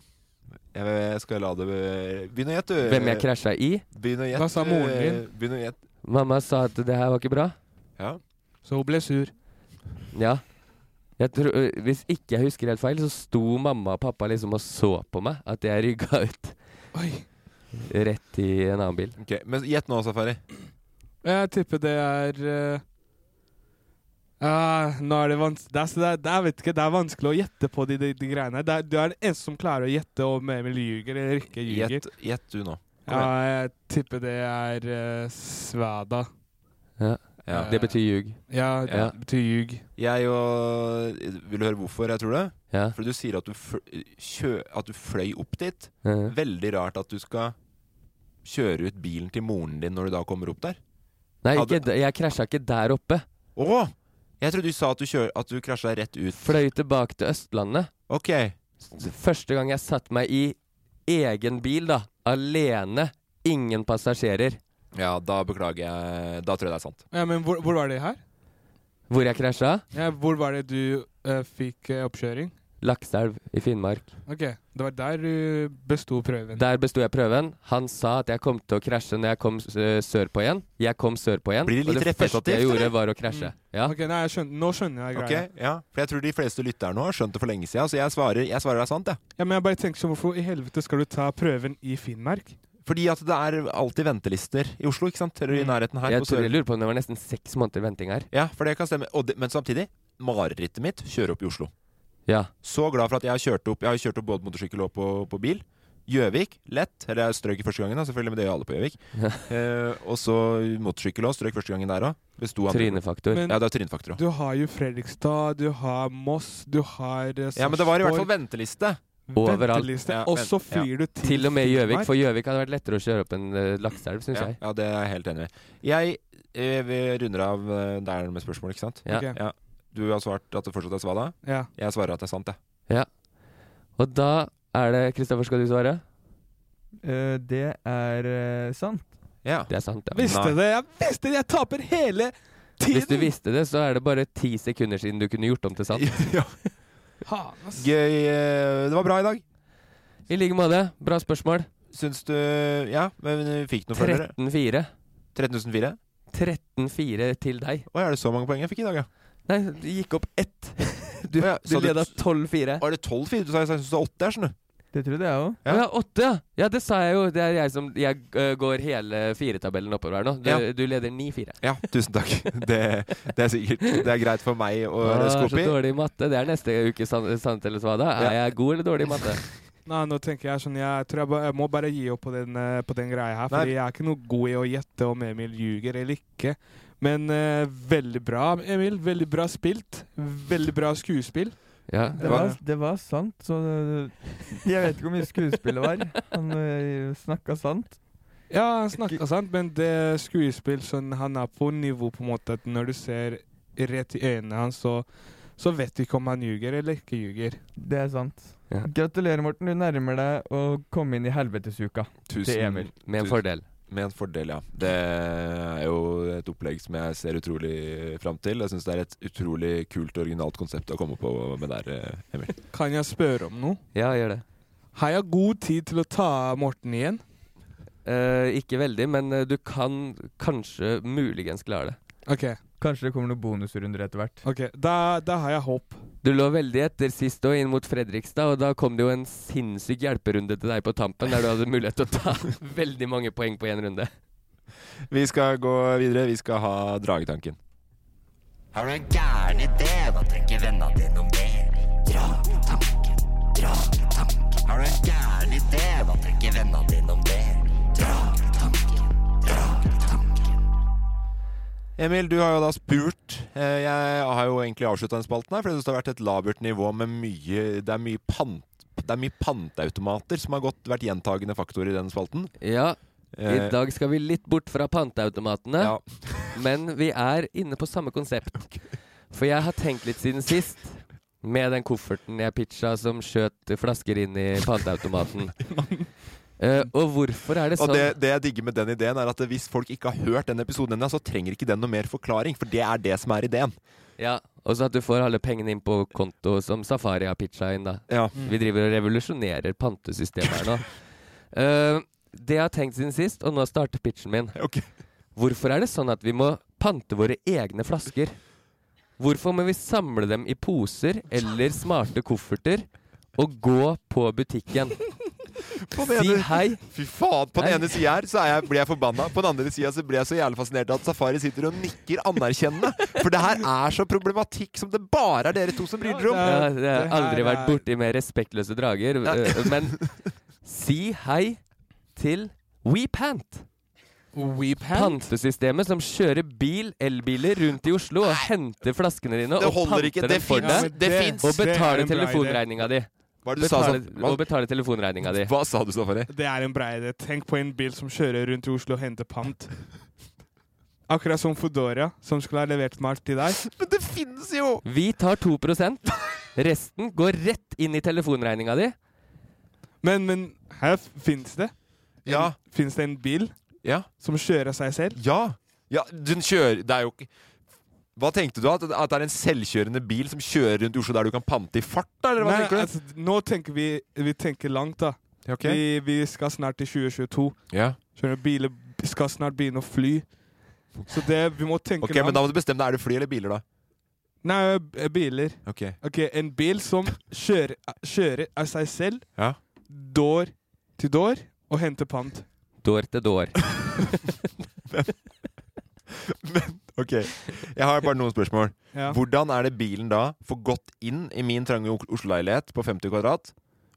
Speaker 3: Jeg, jeg skal la det be- Begynn å gjette, du.
Speaker 2: Hvem jeg krasja i?
Speaker 3: Begynn å gjette.
Speaker 1: Hva sa moren din?
Speaker 3: eh, Begynn å gjette.
Speaker 2: Mamma sa at det her var ikke bra.
Speaker 3: Ja.
Speaker 1: Så hun ble sur.
Speaker 2: Ja. Jeg tror, ø, hvis ikke jeg husker helt feil, så sto mamma og pappa liksom og så på meg at jeg rygga ut. Rett i en annen bil.
Speaker 3: Ok, Men gjett nå, Safari.
Speaker 1: Jeg tipper det er eh, ah, Nå er det vanskelig det er, så det, er, det, er, vet ikke, det er vanskelig å gjette på de, de, de greiene her. Det er- Du er den eneste som klarer å gjette om Emil ljuger eller ikke ljuger.
Speaker 3: Gjett gjett du nå. Kom
Speaker 1: Ja, jeg tipper det er eh, Svada. Eh,
Speaker 2: Ja.
Speaker 3: Ja.
Speaker 2: Det betyr ljug.
Speaker 1: Ja, det
Speaker 3: Ja.
Speaker 1: betyr ljug.
Speaker 3: Jeg og Vil du høre hvorfor jeg tror det?
Speaker 2: Ja.
Speaker 3: Fordi du sier at du, fl kjø at du fløy opp dit.
Speaker 2: Ja.
Speaker 3: Veldig rart at du skal kjøre ut bilen til moren din når du da kommer opp der.
Speaker 2: Nei,
Speaker 3: Hadde-
Speaker 2: ikke, d- jeg krasja ikke der oppe.
Speaker 3: Å! Jeg trodde du sa at du, kjør at du krasja rett ut.
Speaker 2: Fløy tilbake til Østlandet.
Speaker 3: Ok.
Speaker 2: S- Første gang jeg satte meg i egen bil, da. Alene. Ingen passasjerer.
Speaker 3: Ja, da beklager jeg. Da tror jeg det er sant.
Speaker 1: Ja, men hvor, hvor var det her?
Speaker 2: Hvor jeg krasja?
Speaker 1: Ja, hvor var det du eh, fikk eh, oppkjøring?
Speaker 2: Lakselv i Finnmark.
Speaker 1: Ok, det var der du besto prøven.
Speaker 2: Der besto jeg prøven. Han sa at jeg kom til å krasje når jeg kom s- eh, sørpå igjen. Jeg kom sørpå igjen.
Speaker 3: Blir det
Speaker 2: og
Speaker 3: litt
Speaker 2: det første jeg
Speaker 3: repetitivt,
Speaker 2: gjorde,
Speaker 3: eller?
Speaker 2: var å
Speaker 3: Mm.
Speaker 2: krasje. Ja.
Speaker 1: Ok, nei, jeg skjønner, Nå skjønner jeg
Speaker 3: Ok,
Speaker 1: greia.
Speaker 3: ja. For jeg tror de fleste lytterne har skjønt det for lenge siden, så jeg svarer, jeg svarer det er sant, jeg.
Speaker 1: Ja, men jeg bare tenker sånn, Hvorfor i helvete skal du ta prøven i Finnmark?
Speaker 3: Fordi at det er alltid ventelister i Oslo, ikke sant? Eller i nærheten her.
Speaker 2: Mm. Jeg,
Speaker 3: på
Speaker 2: tror,
Speaker 3: Sør-
Speaker 2: jeg lurer på om det var nesten seks måneder venting her.
Speaker 3: Ja, for det kan stemme. Og det, men samtidig, marerittet mitt kjører opp i Oslo.
Speaker 2: Ja.
Speaker 3: Så glad for at jeg har kjørt opp Jeg har jo kjørt opp både motorsykkel og på, på bil. Gjøvik, lett. Eller jeg strøk første gangen, da, selvfølgelig, men det gjør alle på Gjøvik. eh, og så motorsykkel òg. Strøk første gangen der òg.
Speaker 2: Trynefaktor.
Speaker 1: Men-
Speaker 3: Ja, det er trynefaktor òg.
Speaker 1: Du har jo Fredrikstad, du har Moss, du har eh,
Speaker 3: Ja, men det var i hvert fall
Speaker 1: Sarpsborg.
Speaker 3: venteliste.
Speaker 2: Overalt.
Speaker 1: Venteliste,
Speaker 3: Ja,
Speaker 1: og
Speaker 3: vent-
Speaker 1: så flyr du til
Speaker 2: Til og med Gjøvik,
Speaker 1: Finnmark.
Speaker 2: for Gjøvik hadde vært lettere å kjøre opp enn uh, Lakselv, syns
Speaker 3: Ja,
Speaker 2: jeg.
Speaker 3: ja, det er jeg helt enig i. Jeg eh, vi runder av eh, der med spørsmål, ikke sant?
Speaker 2: Ja.
Speaker 1: Ok.
Speaker 3: Ja. Du har svart at det fortsatt er svada.
Speaker 1: Ja.
Speaker 3: Jeg svarer at det er sant, jeg.
Speaker 2: Ja. Og da er det Kristoffer, skal du svare?
Speaker 9: Eh, det er eh, sant.
Speaker 3: Ja.
Speaker 2: Det er sant, ja.
Speaker 1: Visste
Speaker 3: Nei.
Speaker 1: det! Jeg visste det! Jeg taper hele tiden!
Speaker 2: Hvis du visste det, så er det bare ti sekunder siden du kunne gjort om til sant.
Speaker 3: ja.
Speaker 1: Faen, ass.
Speaker 3: Gøy. eh, Det var bra i dag.
Speaker 2: I like måte. Bra spørsmål.
Speaker 3: Syns du Ja, men vi fikk noen følgere.
Speaker 2: 13-4.
Speaker 3: 13004?
Speaker 2: 13-4 til deg.
Speaker 3: Å, er det så mange poeng jeg fikk i dag, ja?
Speaker 2: Nei, du gikk opp ett. Du,
Speaker 3: Å, ja,
Speaker 2: du
Speaker 3: så du-
Speaker 2: leda 12-4.
Speaker 3: Å, er det 12-4? Du sa jeg syns det er 8 her, skjønner du.
Speaker 9: Det trodde jeg òg.
Speaker 3: Ja.
Speaker 2: Å Ja, åtte, ja. ja! Det sa jeg jo. Det er jeg som Jeg øh, går hele firetabellen oppover her nå. Du,
Speaker 3: Ja.
Speaker 2: du leder 9-4.
Speaker 3: Ja, tusen takk. Det, det er sikkert Det er greit for meg å
Speaker 2: Å,
Speaker 3: røske
Speaker 2: Ah, så
Speaker 3: opp i.
Speaker 2: dårlig i matte. Det er neste uke, sant sant eller svada. Er
Speaker 3: Ja.
Speaker 2: jeg god eller dårlig i matte?
Speaker 1: Nei, nå tenker jeg sånn Jeg tror jeg, ba, jeg må bare gi opp på den, eh, på den greia her. Fordi
Speaker 3: Nei.
Speaker 1: jeg er ikke noe god i å gjette om Emil ljuger eller ikke. Men eh, veldig bra, Emil. Veldig bra spilt. Veldig bra skuespill.
Speaker 2: Ja.
Speaker 9: Det var, det var sant, så det- Jeg vet ikke hvor mye skuespillet var. Han eh, snakka sant.
Speaker 1: Ja, han snakker sant, men det er skuespill sånn, han er på nivå på en måte at når du ser rett i øynene hans, så, så vet du ikke om han ljuger eller ikke ljuger.
Speaker 9: Det er sant.
Speaker 2: Ja.
Speaker 9: Gratulerer, Morten. Du nærmer deg å komme inn i helvetesuka
Speaker 3: Tusen-
Speaker 9: til Emil.
Speaker 2: Med en
Speaker 3: tusen-
Speaker 2: fordel.
Speaker 3: Med en fordel, ja. Det er jo et opplegg som jeg ser utrolig fram til. Jeg syns det er et utrolig kult og originalt konsept å komme på med der, eh, Emil.
Speaker 1: Kan jeg spørre om noe?
Speaker 2: Ja, gjør det.
Speaker 1: Har jeg god tid til å ta Morten igjen?
Speaker 2: Eh, ikke veldig, men eh, du kan kanskje muligens klare det.
Speaker 1: OK.
Speaker 9: Kanskje det kommer noen bonusrunder etter hvert.
Speaker 1: ok, Da, da har jeg håp.
Speaker 2: Du lå veldig etter sist og inn mot Fredrikstad, og da kom det jo en sinnssyk hjelperunde til deg på tampen, der du hadde mulighet til å ta veldig mange poeng på én runde.
Speaker 3: Vi skal gå videre. Vi skal ha Dragetanken.
Speaker 10: Har du en gæren idé? Hva tenker vennene dine om det? Dragetanken, dragetanken. Har du en gæren idé? Hva tenker vennene dine om det? Dragetanken, dragetanken.
Speaker 3: Emil, du har jo da spurt. Eh, Jeg har jo egentlig avslutta den spalten her, for jeg synes det har vært et labert nivå med mye Det er mye pant. Det er mye panteautomater som har gått, vært gjentagende faktor i den spalten.
Speaker 2: Ja, i
Speaker 3: Eh,
Speaker 2: dag skal vi litt bort fra panteautomatene, men vi er inne på samme konsept. For jeg har tenkt litt siden sist, med den kofferten jeg pitcha som skjøt flasker inn i panteautomaten. Eh, og hvorfor er det sånn
Speaker 3: Og det, det jeg digger med den ideen, er at hvis folk ikke har hørt den episoden ennå, så trenger ikke den noe mer forklaring, for det er det som er ideen.
Speaker 2: Ja, og så at du får alle pengene inn på konto som Safari har pitcha inn, da. Vi driver og revolusjonerer pantesystemet her nå. Eh, det jeg har tenkt siden sist, og nå starter pitchen min. Hvorfor er det sånn at vi må pante våre egne flasker? Hvorfor må vi samle dem i poser eller smarte kofferter og gå på butikken? Si hei.
Speaker 3: Fy faen, På den
Speaker 2: Hei.
Speaker 3: ene sida her så er jeg, blir jeg forbanna. På den andre sida så blir jeg så jævlig fascinert av at Safari sitter og nikker anerkjennende. For det her er så problematikk som det bare er dere to som bryr dere om.
Speaker 2: Ja, det har aldri vært borti mer respektløse drager. eh, Men si hei til WePant.
Speaker 1: WePant?
Speaker 2: Pantesystemet som kjører bil, elbiler rundt i Oslo og henter flaskene dine
Speaker 3: Det
Speaker 2: og
Speaker 3: holder
Speaker 2: panter
Speaker 3: ikke.
Speaker 2: dem
Speaker 3: Det
Speaker 2: for
Speaker 3: fins.
Speaker 2: deg.
Speaker 3: Det fins.
Speaker 2: Og
Speaker 3: Det er
Speaker 2: betaler
Speaker 3: en bra idé.
Speaker 2: telefonregninga di.
Speaker 3: Hva er det du sa,
Speaker 2: Betale-
Speaker 3: Sam? Hva-
Speaker 2: Og betaler telefonregninga di.
Speaker 3: Hva sa du, sånn, Safari?
Speaker 1: Det er en brei idé. Tenk på en bil som kjører rundt i Oslo og henter pant. Akkurat som Foodora, som skulle ha levert mat til deg.
Speaker 3: Det fins jo!
Speaker 2: Vi tar 2 Resten går rett inn i telefonregninga di.
Speaker 1: Men, men her fins det.
Speaker 3: Ja.
Speaker 1: Fins det en bil som kjører seg selv?
Speaker 3: Ja. Ja, den kjører Det er jo ikke Hva tenkte du? At, at det er en selvkjørende bil som kjører rundt i Oslo der du kan pante i fart? da, Eller hva
Speaker 1: Nei,
Speaker 3: tenker du?
Speaker 1: altså, nå tenker vi Vi tenker langt, da.
Speaker 3: ok.
Speaker 1: Vi, vi skal snart til 2022.
Speaker 3: Ja.
Speaker 1: Skjønner du, Biler b- skal snart begynne å fly. Så det, vi må tenke
Speaker 3: Ok, Men da må du bestemme deg. Er det fly eller biler, da?
Speaker 1: Nei, b- biler.
Speaker 3: Ok.
Speaker 1: En bil som kjører, kjører av seg selv,
Speaker 3: Ja.
Speaker 1: dår til dår, og henter pant.
Speaker 2: Dår til dår.
Speaker 3: Ok, Jeg har bare noen spørsmål.
Speaker 1: Ja.
Speaker 3: Hvordan er det bilen da får gått inn i min trange Ok- Oslo-leilighet på 50 kvadrat?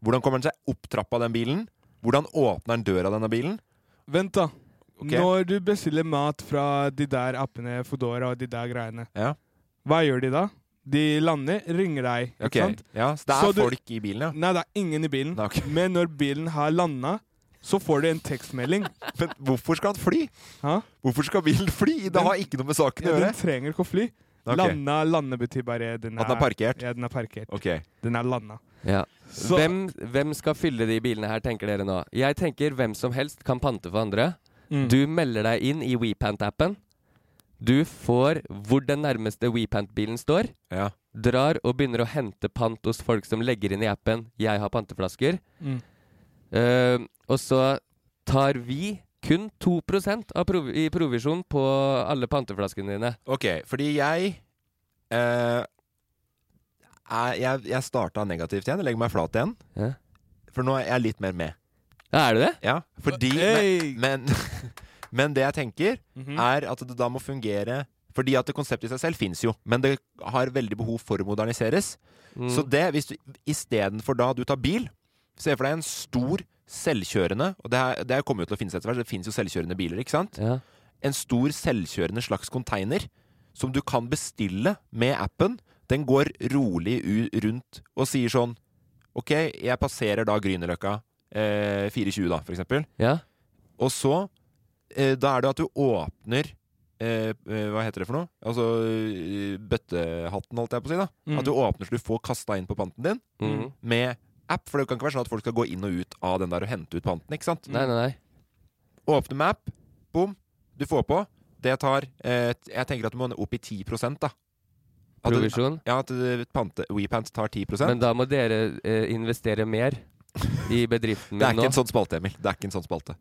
Speaker 3: Hvordan kommer den seg opp trappa av den bilen? Hvordan åpner den døra av denne bilen?
Speaker 1: Vent, da.
Speaker 3: Ok.
Speaker 1: Når du bestiller mat fra de der appene, Foodora og de der greiene,
Speaker 3: Ja.
Speaker 1: hva gjør de da? De lander, ringer deg. Ikke
Speaker 3: Ok,
Speaker 1: sant?
Speaker 3: ja, så det er folk i bilen, ja?
Speaker 1: Nei, det er ingen i bilen. Men når bilen har landa, så får du en tekstmelding.
Speaker 3: Men hvorfor skal han fly?
Speaker 1: Hæ?
Speaker 3: Hvorfor skal bilen fly? Det har ikke noe med saken å
Speaker 1: ja,
Speaker 3: gjøre.
Speaker 1: Den trenger ikke å fly.
Speaker 3: Ok.
Speaker 1: Landa, lande betyr bare den
Speaker 3: At den er parkert?
Speaker 1: Ja, den er parkert.
Speaker 3: Ok.
Speaker 1: Den er landa.
Speaker 2: Ja.
Speaker 1: Så-
Speaker 2: Hvem, hvem skal fylle de bilene her, tenker dere nå? Jeg tenker hvem som helst kan pante for andre.
Speaker 1: Mm.
Speaker 2: Du melder deg inn i WePant-appen. Du får hvor den nærmeste WePant-bilen står. Drar og begynner å hente pant hos folk som legger inn i appen 'Jeg har panteflasker'.
Speaker 1: Mm.
Speaker 2: Eh, og så tar vi kun 2 av prov i provisjon på alle panteflaskene dine.
Speaker 3: Ok, fordi jeg eh, er, Jeg, jeg starta negativt igjen. Jeg legger meg flat igjen. For nå er jeg litt mer med.
Speaker 2: Er du det?
Speaker 3: Ja, fordi
Speaker 1: Hey!
Speaker 3: men, men, men det jeg tenker,
Speaker 1: Mhm.
Speaker 3: er at det da må fungere Fordi at det konseptet i seg selv fins jo, men det har veldig behov for å moderniseres.
Speaker 2: Mm.
Speaker 3: Så det, hvis du istedenfor da du tar bil Se for deg en stor selvkjørende Og det, her, det her kommer jo til å finnes etter hvert, det fins jo selvkjørende biler, ikke sant? En stor selvkjørende slags container som du kan bestille med appen. Den går rolig u rundt og sier sånn Ok, jeg passerer da Grünerløkka eh, 4.20, da, for eksempel.
Speaker 2: Ja.
Speaker 3: Og så eh, Da er det at du åpner eh, eh, Hva heter det for noe? Altså eh, bøttehatten, holdt jeg på å si. da
Speaker 2: Mm.
Speaker 3: At du åpner så du får kasta inn på panten din
Speaker 1: Mm.
Speaker 2: Mhm.
Speaker 3: med app. For det kan ikke være sånn at folk skal gå inn og ut av den der og hente ut panten. ikke sant?
Speaker 2: Nei, nei, nei.
Speaker 3: Åpne med app. Bom. Du får på. Det tar eh, t- Jeg tenker at du må opp i 10 da. At det-
Speaker 2: Provisjon?
Speaker 3: Ja, at det- pante, WePant tar 10
Speaker 2: Men da må dere eh, investere mer i bedriften min
Speaker 3: Det er
Speaker 2: nå.
Speaker 3: ikke en sånn spalte, Emil. Det er ikke en sånn spalte.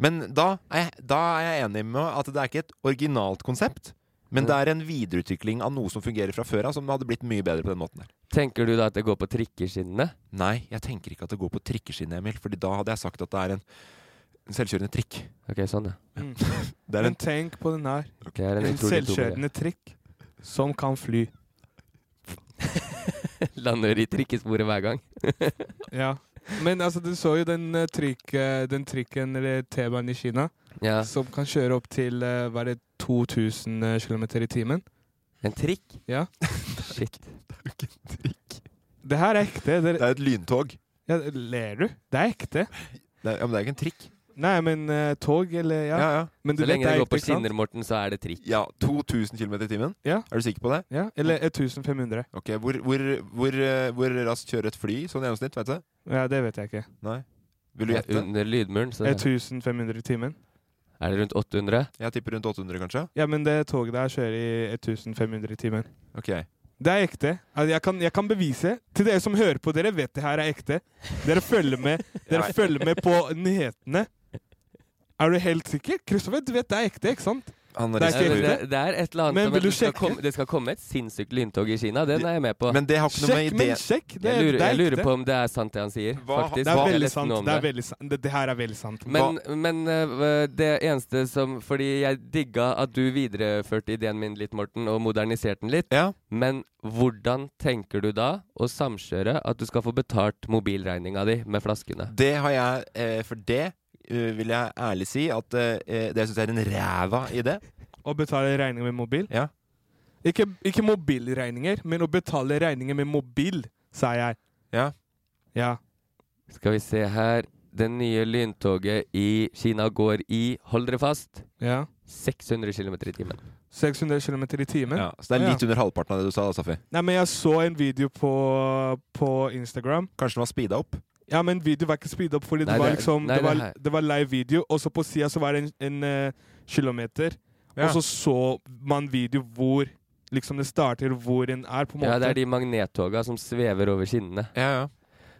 Speaker 3: Men da er jeg, da er jeg enig med at det er ikke et originalt konsept, men det er en videreutvikling av noe som fungerer fra før av, som hadde blitt mye bedre på den måten der.
Speaker 1: sånn-
Speaker 2: Tenker du da at det går på trikkeskinnene?
Speaker 3: Nei, jeg tenker ikke at det går på trikkeskinnet, Emil, Fordi da hadde jeg sagt at det er en en selvkjørende trikk.
Speaker 2: Ok, sånn, ja.
Speaker 3: Det er
Speaker 1: Men
Speaker 3: en
Speaker 1: tenk på den her.
Speaker 2: Ok, her er den
Speaker 1: En
Speaker 2: utrolig dumme
Speaker 1: selvkjørende trikk som kan fly.
Speaker 2: Lander i trikkesporet hver gang.
Speaker 1: Ja. Men altså, du så jo den, eh, trikk, eh, den trikken, eller T-banen i Kina,
Speaker 2: Ja.
Speaker 1: som kan kjøre opp til eh, hva er det, 2000 km i timen.
Speaker 2: En trikk?
Speaker 1: Ja.
Speaker 2: Shit.
Speaker 1: Det her er ekte. Det
Speaker 3: er et lyntog.
Speaker 1: Ja, ler du? Det er ekte.
Speaker 3: ja, men det er ikke en trikk.
Speaker 1: Nei, men eh, tog, eller Ja, Men du
Speaker 2: så
Speaker 1: vet
Speaker 2: lenge det
Speaker 1: er
Speaker 2: går på
Speaker 1: ekte, ikke sant?
Speaker 2: skinner, Morten, så er det trikk.
Speaker 3: Ja, 2000 km i timen?
Speaker 1: Ja.
Speaker 3: Er du sikker på det?
Speaker 1: Ja, eller 1500.
Speaker 3: Ok, Hvor, hvor, hvor, eh, hvor raskt kjører et fly sånn i gjennomsnitt, vet du?
Speaker 1: Ja, det vet jeg ikke.
Speaker 3: Nei. Vil du
Speaker 2: Ja,
Speaker 3: gjette?
Speaker 2: Under lydmuren, så
Speaker 1: 1500 i timen.
Speaker 2: er det rundt 800.
Speaker 3: Jeg tipper rundt 800, kanskje.
Speaker 1: Ja, men det toget der kjører i 1500 i timen.
Speaker 3: Ok.
Speaker 1: Det er ekte. Altså, Jeg kan, jeg kan bevise. Til dere som hører på, dere vet det her er ekte. Dere følger med, dere
Speaker 3: Nei.
Speaker 1: følger med på nyhetene. Er du helt sikker? Kristoffer, du vet det er ekte, ikke sant?
Speaker 3: Han
Speaker 1: Det er ikke
Speaker 2: det,
Speaker 1: ekte.
Speaker 2: det er et eller annet
Speaker 1: Men
Speaker 2: om
Speaker 1: vil
Speaker 2: at
Speaker 1: du
Speaker 2: det skal,
Speaker 1: sjekke?
Speaker 2: komme, det skal komme et sinnssykt lyntog i Kina. Den er jeg med på.
Speaker 3: Men det har ikke noe med
Speaker 1: Sjekk, men idé- sjekk. Det er-
Speaker 2: jeg lurer,
Speaker 1: det er
Speaker 2: jeg lurer
Speaker 1: ekte.
Speaker 2: på om det er sant, det han sier.
Speaker 1: Hva-
Speaker 2: Faktisk.
Speaker 1: det er
Speaker 2: Jeg
Speaker 1: veldig
Speaker 2: leste
Speaker 1: sant.
Speaker 2: noe om
Speaker 1: Det, er veldig sant. Det, det her er veldig sant.
Speaker 2: Men, men øh, det eneste som Fordi jeg digga at du videreførte ideen min litt, Morten, og moderniserte den litt. Men hvordan tenker du da å samkjøre at du skal få betalt mobilregninga di med flaskene?
Speaker 3: Det har jeg eh, For det eh, vil jeg ærlig si at eh, det syns jeg er en ræva idé.
Speaker 1: Å betale regninger med mobil?
Speaker 3: Ja.
Speaker 1: Ikke, ikke mobilregninger, men å betale regninger med mobil, sa jeg.
Speaker 3: Ja.
Speaker 1: Ja.
Speaker 2: Skal vi se her. Det nye lyntoget i Kina går i, hold dere fast,
Speaker 1: Ja.
Speaker 2: 600 km i timen.
Speaker 1: 600 km i timen.
Speaker 3: Ja, så det er
Speaker 1: Å,
Speaker 3: litt under halvparten av det du sa, da, Safi.
Speaker 1: Nei, men jeg så en video på, på Instagram.
Speaker 3: Kanskje den var speeda opp?
Speaker 1: Ja, men video var ikke speeda opp, fordi
Speaker 3: Nei,
Speaker 1: det var
Speaker 3: det-
Speaker 1: liksom
Speaker 3: nei,
Speaker 1: det, var,
Speaker 3: det her-
Speaker 1: det var live video, og så på sida så var det en, en eh, kilometer.
Speaker 2: Ja.
Speaker 1: Og så så man video hvor liksom det starter, hvor en er, på en måte.
Speaker 2: Ja, det er de magnettoga som svever over skinnene.
Speaker 3: Ja, ja.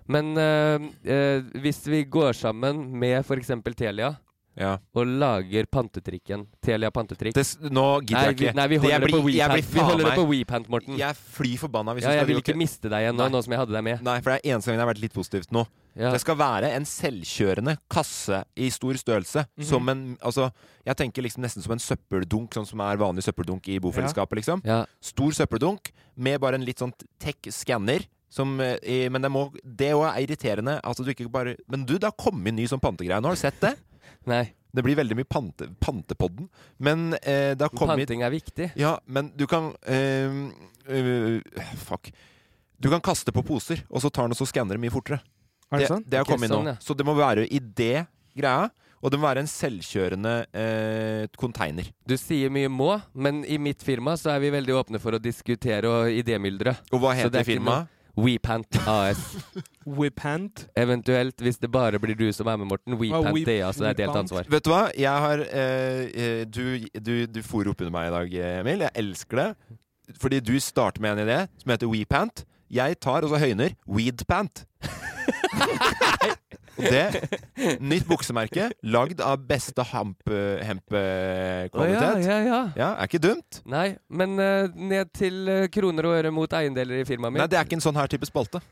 Speaker 2: Men øh, øh, hvis vi går sammen med f.eks. Telia
Speaker 3: Ja.
Speaker 2: og lager pantetrikken Telia pantetrikk
Speaker 3: Det, s- nå gidder
Speaker 2: Nei,
Speaker 3: jeg ikke.
Speaker 2: vi- Nei, vi holder
Speaker 3: jeg
Speaker 2: det på
Speaker 3: blir- jeg blir
Speaker 2: WePant. Vi
Speaker 3: faen
Speaker 2: holder det
Speaker 3: meg-
Speaker 2: på WePant, Morten.
Speaker 3: Jeg er fly forbanna hvis
Speaker 2: ja,
Speaker 3: vi
Speaker 2: jeg
Speaker 3: skal
Speaker 2: vil
Speaker 3: drive og
Speaker 2: ikke
Speaker 3: kle-
Speaker 2: miste deg igjen nå, nå som jeg hadde deg med.
Speaker 3: Nei, for det er eneste gangen jeg har vært litt positivt nå. Det skal være en selvkjørende kasse i stor størrelse.
Speaker 2: Mhm.
Speaker 3: Som en Altså, jeg tenker liksom nesten som en søppeldunk, sånn som er vanlig søppeldunk i bofellesskapet, liksom. Stor søppeldunk med bare en litt sånn tech-skanner. Som, eh, i, men det, må, det også er irriterende at du ikke bare Men du, det har kommet ny sånn pantegreie nå. Har du sett det?
Speaker 2: Nei.
Speaker 3: Det blir veldig mye pante, pantepodden. Men eh, det har kommet
Speaker 2: Panting er viktig.
Speaker 3: Ja, men du kan ehm, øh, Fuck. Du kan kaste på poser, og så tar den og så skanner den mye fortere.
Speaker 1: Er det sant?
Speaker 3: Det har
Speaker 2: Ok,
Speaker 3: kommet
Speaker 2: sånn,
Speaker 3: nå.
Speaker 2: ja.
Speaker 3: Så det må være i det greia. Og det må være en selvkjørende eh, container.
Speaker 2: Du sier mye må, men i mitt firma så er vi veldig åpne for å diskutere og idémyldre.
Speaker 3: Og hva
Speaker 2: Så
Speaker 3: heter
Speaker 2: det er ikke
Speaker 3: firmaet?
Speaker 2: noe- WePant AS.
Speaker 1: Whiphand.
Speaker 2: Eventuelt, hvis det bare blir du som er med, Morten, WePant
Speaker 1: We-
Speaker 2: DA, så det er delt
Speaker 1: WePant.
Speaker 2: ansvar.
Speaker 3: Vet du hva? Jeg har eh, eh, Du, du, du for opp under meg i dag, eh, Emil. Jeg elsker det. Fordi du starter med en idé som heter WePant. Jeg tar og så høyner WeedPant. Og det Nytt buksemerke lagd av beste
Speaker 2: Å, ja,
Speaker 3: hemp-kvalitet.
Speaker 2: ja, ja.
Speaker 3: er ikke dumt.
Speaker 2: Nei, men eh, ned til eh, kroner og øre mot eiendeler i firmaet mitt.
Speaker 3: Nei, det er ikke en sånn her type spalte.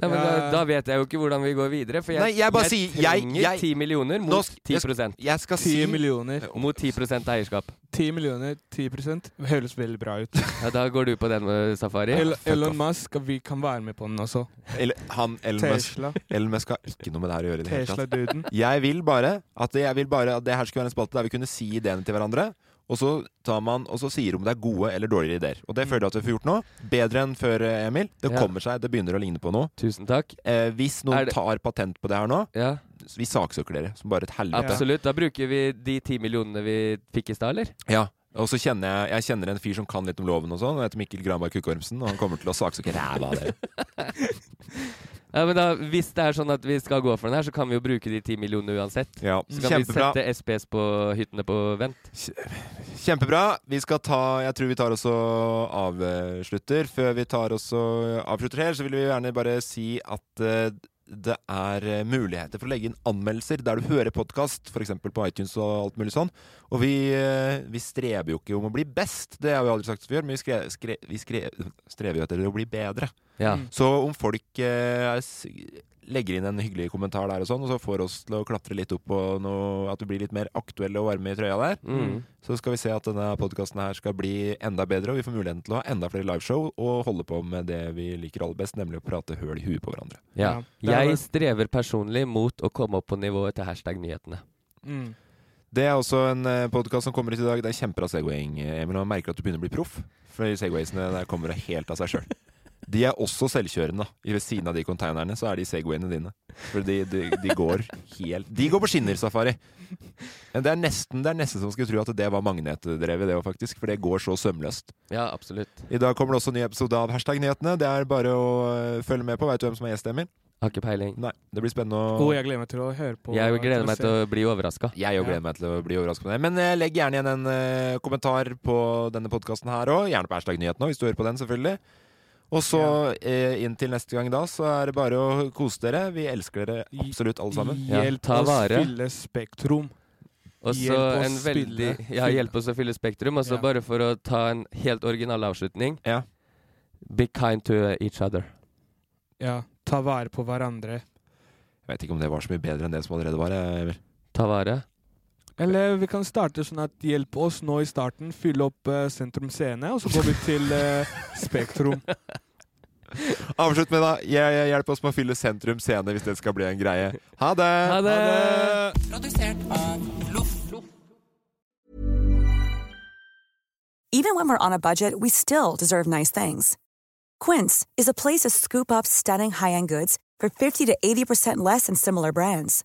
Speaker 2: Nei, men da,
Speaker 3: Ja.
Speaker 2: da vet jeg jo ikke hvordan vi går videre, for jeg,
Speaker 3: Nei, jeg bare sier- jeg-
Speaker 2: trenger
Speaker 3: jeg-
Speaker 2: 10 millioner
Speaker 3: Nå
Speaker 2: mot
Speaker 3: sk-
Speaker 2: 10
Speaker 3: jeg sk- jeg skal
Speaker 1: 10 millioner.
Speaker 2: Mot 10 eierskap.
Speaker 1: 10 millioner, 10 Høres veldig bra ut.
Speaker 2: Ja, da går du på den, eh, Safari.
Speaker 1: El Elon Musk, vi kan være med på den også.
Speaker 3: Eller han Elon Musk.
Speaker 1: Tesla.
Speaker 3: Elon Musk har ikke noe med det her å gjøre. i det hele tatt.
Speaker 1: Tesla-duden.
Speaker 3: Jeg vil bare at det, jeg vil bare at det her skulle være en spalte der vi kunne si ideene til hverandre. Og så tar man, og så sier om det er gode eller dårlige ideer. Og det føler jeg at vi får gjort nå. Bedre enn før, eh, Emil. Det
Speaker 2: Mm. Ja.
Speaker 3: kommer seg, det begynner å ligne på noe.
Speaker 2: Tusen takk.
Speaker 3: Eh, hvis
Speaker 2: Er
Speaker 3: noen
Speaker 2: det-
Speaker 3: tar patent på det her nå,
Speaker 2: Ja.
Speaker 3: vi saksøker dere som bare et helvete.
Speaker 2: Absolutt. Da bruker vi de ti millionene vi fikk i stad, eller?
Speaker 3: Ja. Og så kjenner jeg, jeg kjenner en fyr som kan litt om loven og sånn. Han heter Mikkel Granberg Kukkormsen, og han kommer til å saksøke ræva av dere.
Speaker 2: Ja, men da, Hvis det er sånn at vi skal gå for den her, så kan vi jo bruke de ti millionene uansett.
Speaker 3: Ja.
Speaker 2: Så kan
Speaker 3: Kjempebra.
Speaker 2: vi sette SPS på hyttene på vent.
Speaker 3: Kjempebra. Vi skal ta Jeg tror vi tar også avslutter. Før vi tar også avslutter her, så vil vi gjerne bare si at eh, det er eh, muligheter for å legge inn anmeldelser der du hører podkast, f.eks. på iTunes og alt mulig sånn. Og vi, eh, vi streber jo ikke om å bli best, det har vi aldri sagt før, men vi, skre, skre, vi skre, strever jo etter å bli bedre.
Speaker 2: Ja.
Speaker 3: Så om folk eh, er s- legger inn en hyggelig kommentar der og sånn, og så får oss til å klatre litt opp og noe, at vi blir litt mer aktuelle og varme i trøya der,
Speaker 2: Mm.
Speaker 3: så skal vi se at denne podkasten her skal bli enda bedre, og vi får muligheten til å ha enda flere liveshow og holde på med det vi liker aller best, nemlig å prate høl i huet på hverandre.
Speaker 2: Ja.
Speaker 3: Det er
Speaker 2: Jeg strever personlig mot å komme opp på nivået til hashtag nyhetene.
Speaker 1: mm.
Speaker 3: Det er også en podkast som kommer ut i dag. Det er kjempebra segwaying, Emil. og Man merker at du begynner å bli proff, for segwaysene der kommer helt av seg sjøl. De er også selvkjørende. da. Ved siden av de containerne så er de segwayene dine. For de, de, de går helt De går på skinner, Safari! Men det er nesten det er nesten som skulle tro at det var magnetdrevet, det òg, faktisk. For det går så sømløst.
Speaker 2: Ja, absolutt.
Speaker 3: I dag kommer det også en ny episode av Hashtag nyhetene. Det er bare å øh, følge med på. Veit du hvem som er gjest, Emil?
Speaker 2: Har ikke peiling.
Speaker 3: Nei, det blir spennende å
Speaker 1: Og jeg gleder meg til å høre på.
Speaker 2: Jeg gleder meg
Speaker 1: se.
Speaker 2: til å bli overraska.
Speaker 3: Jeg òg gleder meg til å bli overrasket med det. Men eh, legg gjerne igjen en eh, kommentar på denne podkasten her òg. Gjerne på hashtag nyhetene òg, hvis du hører på den, selvfølgelig. Og så eh, inntil neste gang da, så er det bare å kose dere. Vi elsker dere absolutt alle sammen.
Speaker 2: Hjelp ta vare.
Speaker 1: Spektrum.
Speaker 2: Og så
Speaker 1: Hjelp oss
Speaker 2: en veldig
Speaker 1: spille.
Speaker 2: Ja, hjelp oss å fylle Spektrum. Og så bare for å ta en helt original avslutning Be kind to each other.
Speaker 1: Ja. Ta vare på hverandre.
Speaker 3: Jeg vet ikke om det var så mye bedre enn det som allerede var. eh, Emil.
Speaker 2: Ta vare.
Speaker 1: Eller vi kan starte sånn at hjelp oss nå i starten, fylle opp eh, Sentrum Scene, og så går vi til eh, Spektrum.
Speaker 3: Avslutt med da. Hj- hj- Hjelp oss med å fylle sentrum scene hvis det skal bli en greie. Ha det!
Speaker 2: Ha det!
Speaker 11: Produsert av Loff.
Speaker 12: Even when we're on a budget, we still deserve nice things. Quince is a place to scoop up stunning high end goods for 50 to 80% less than similar brands.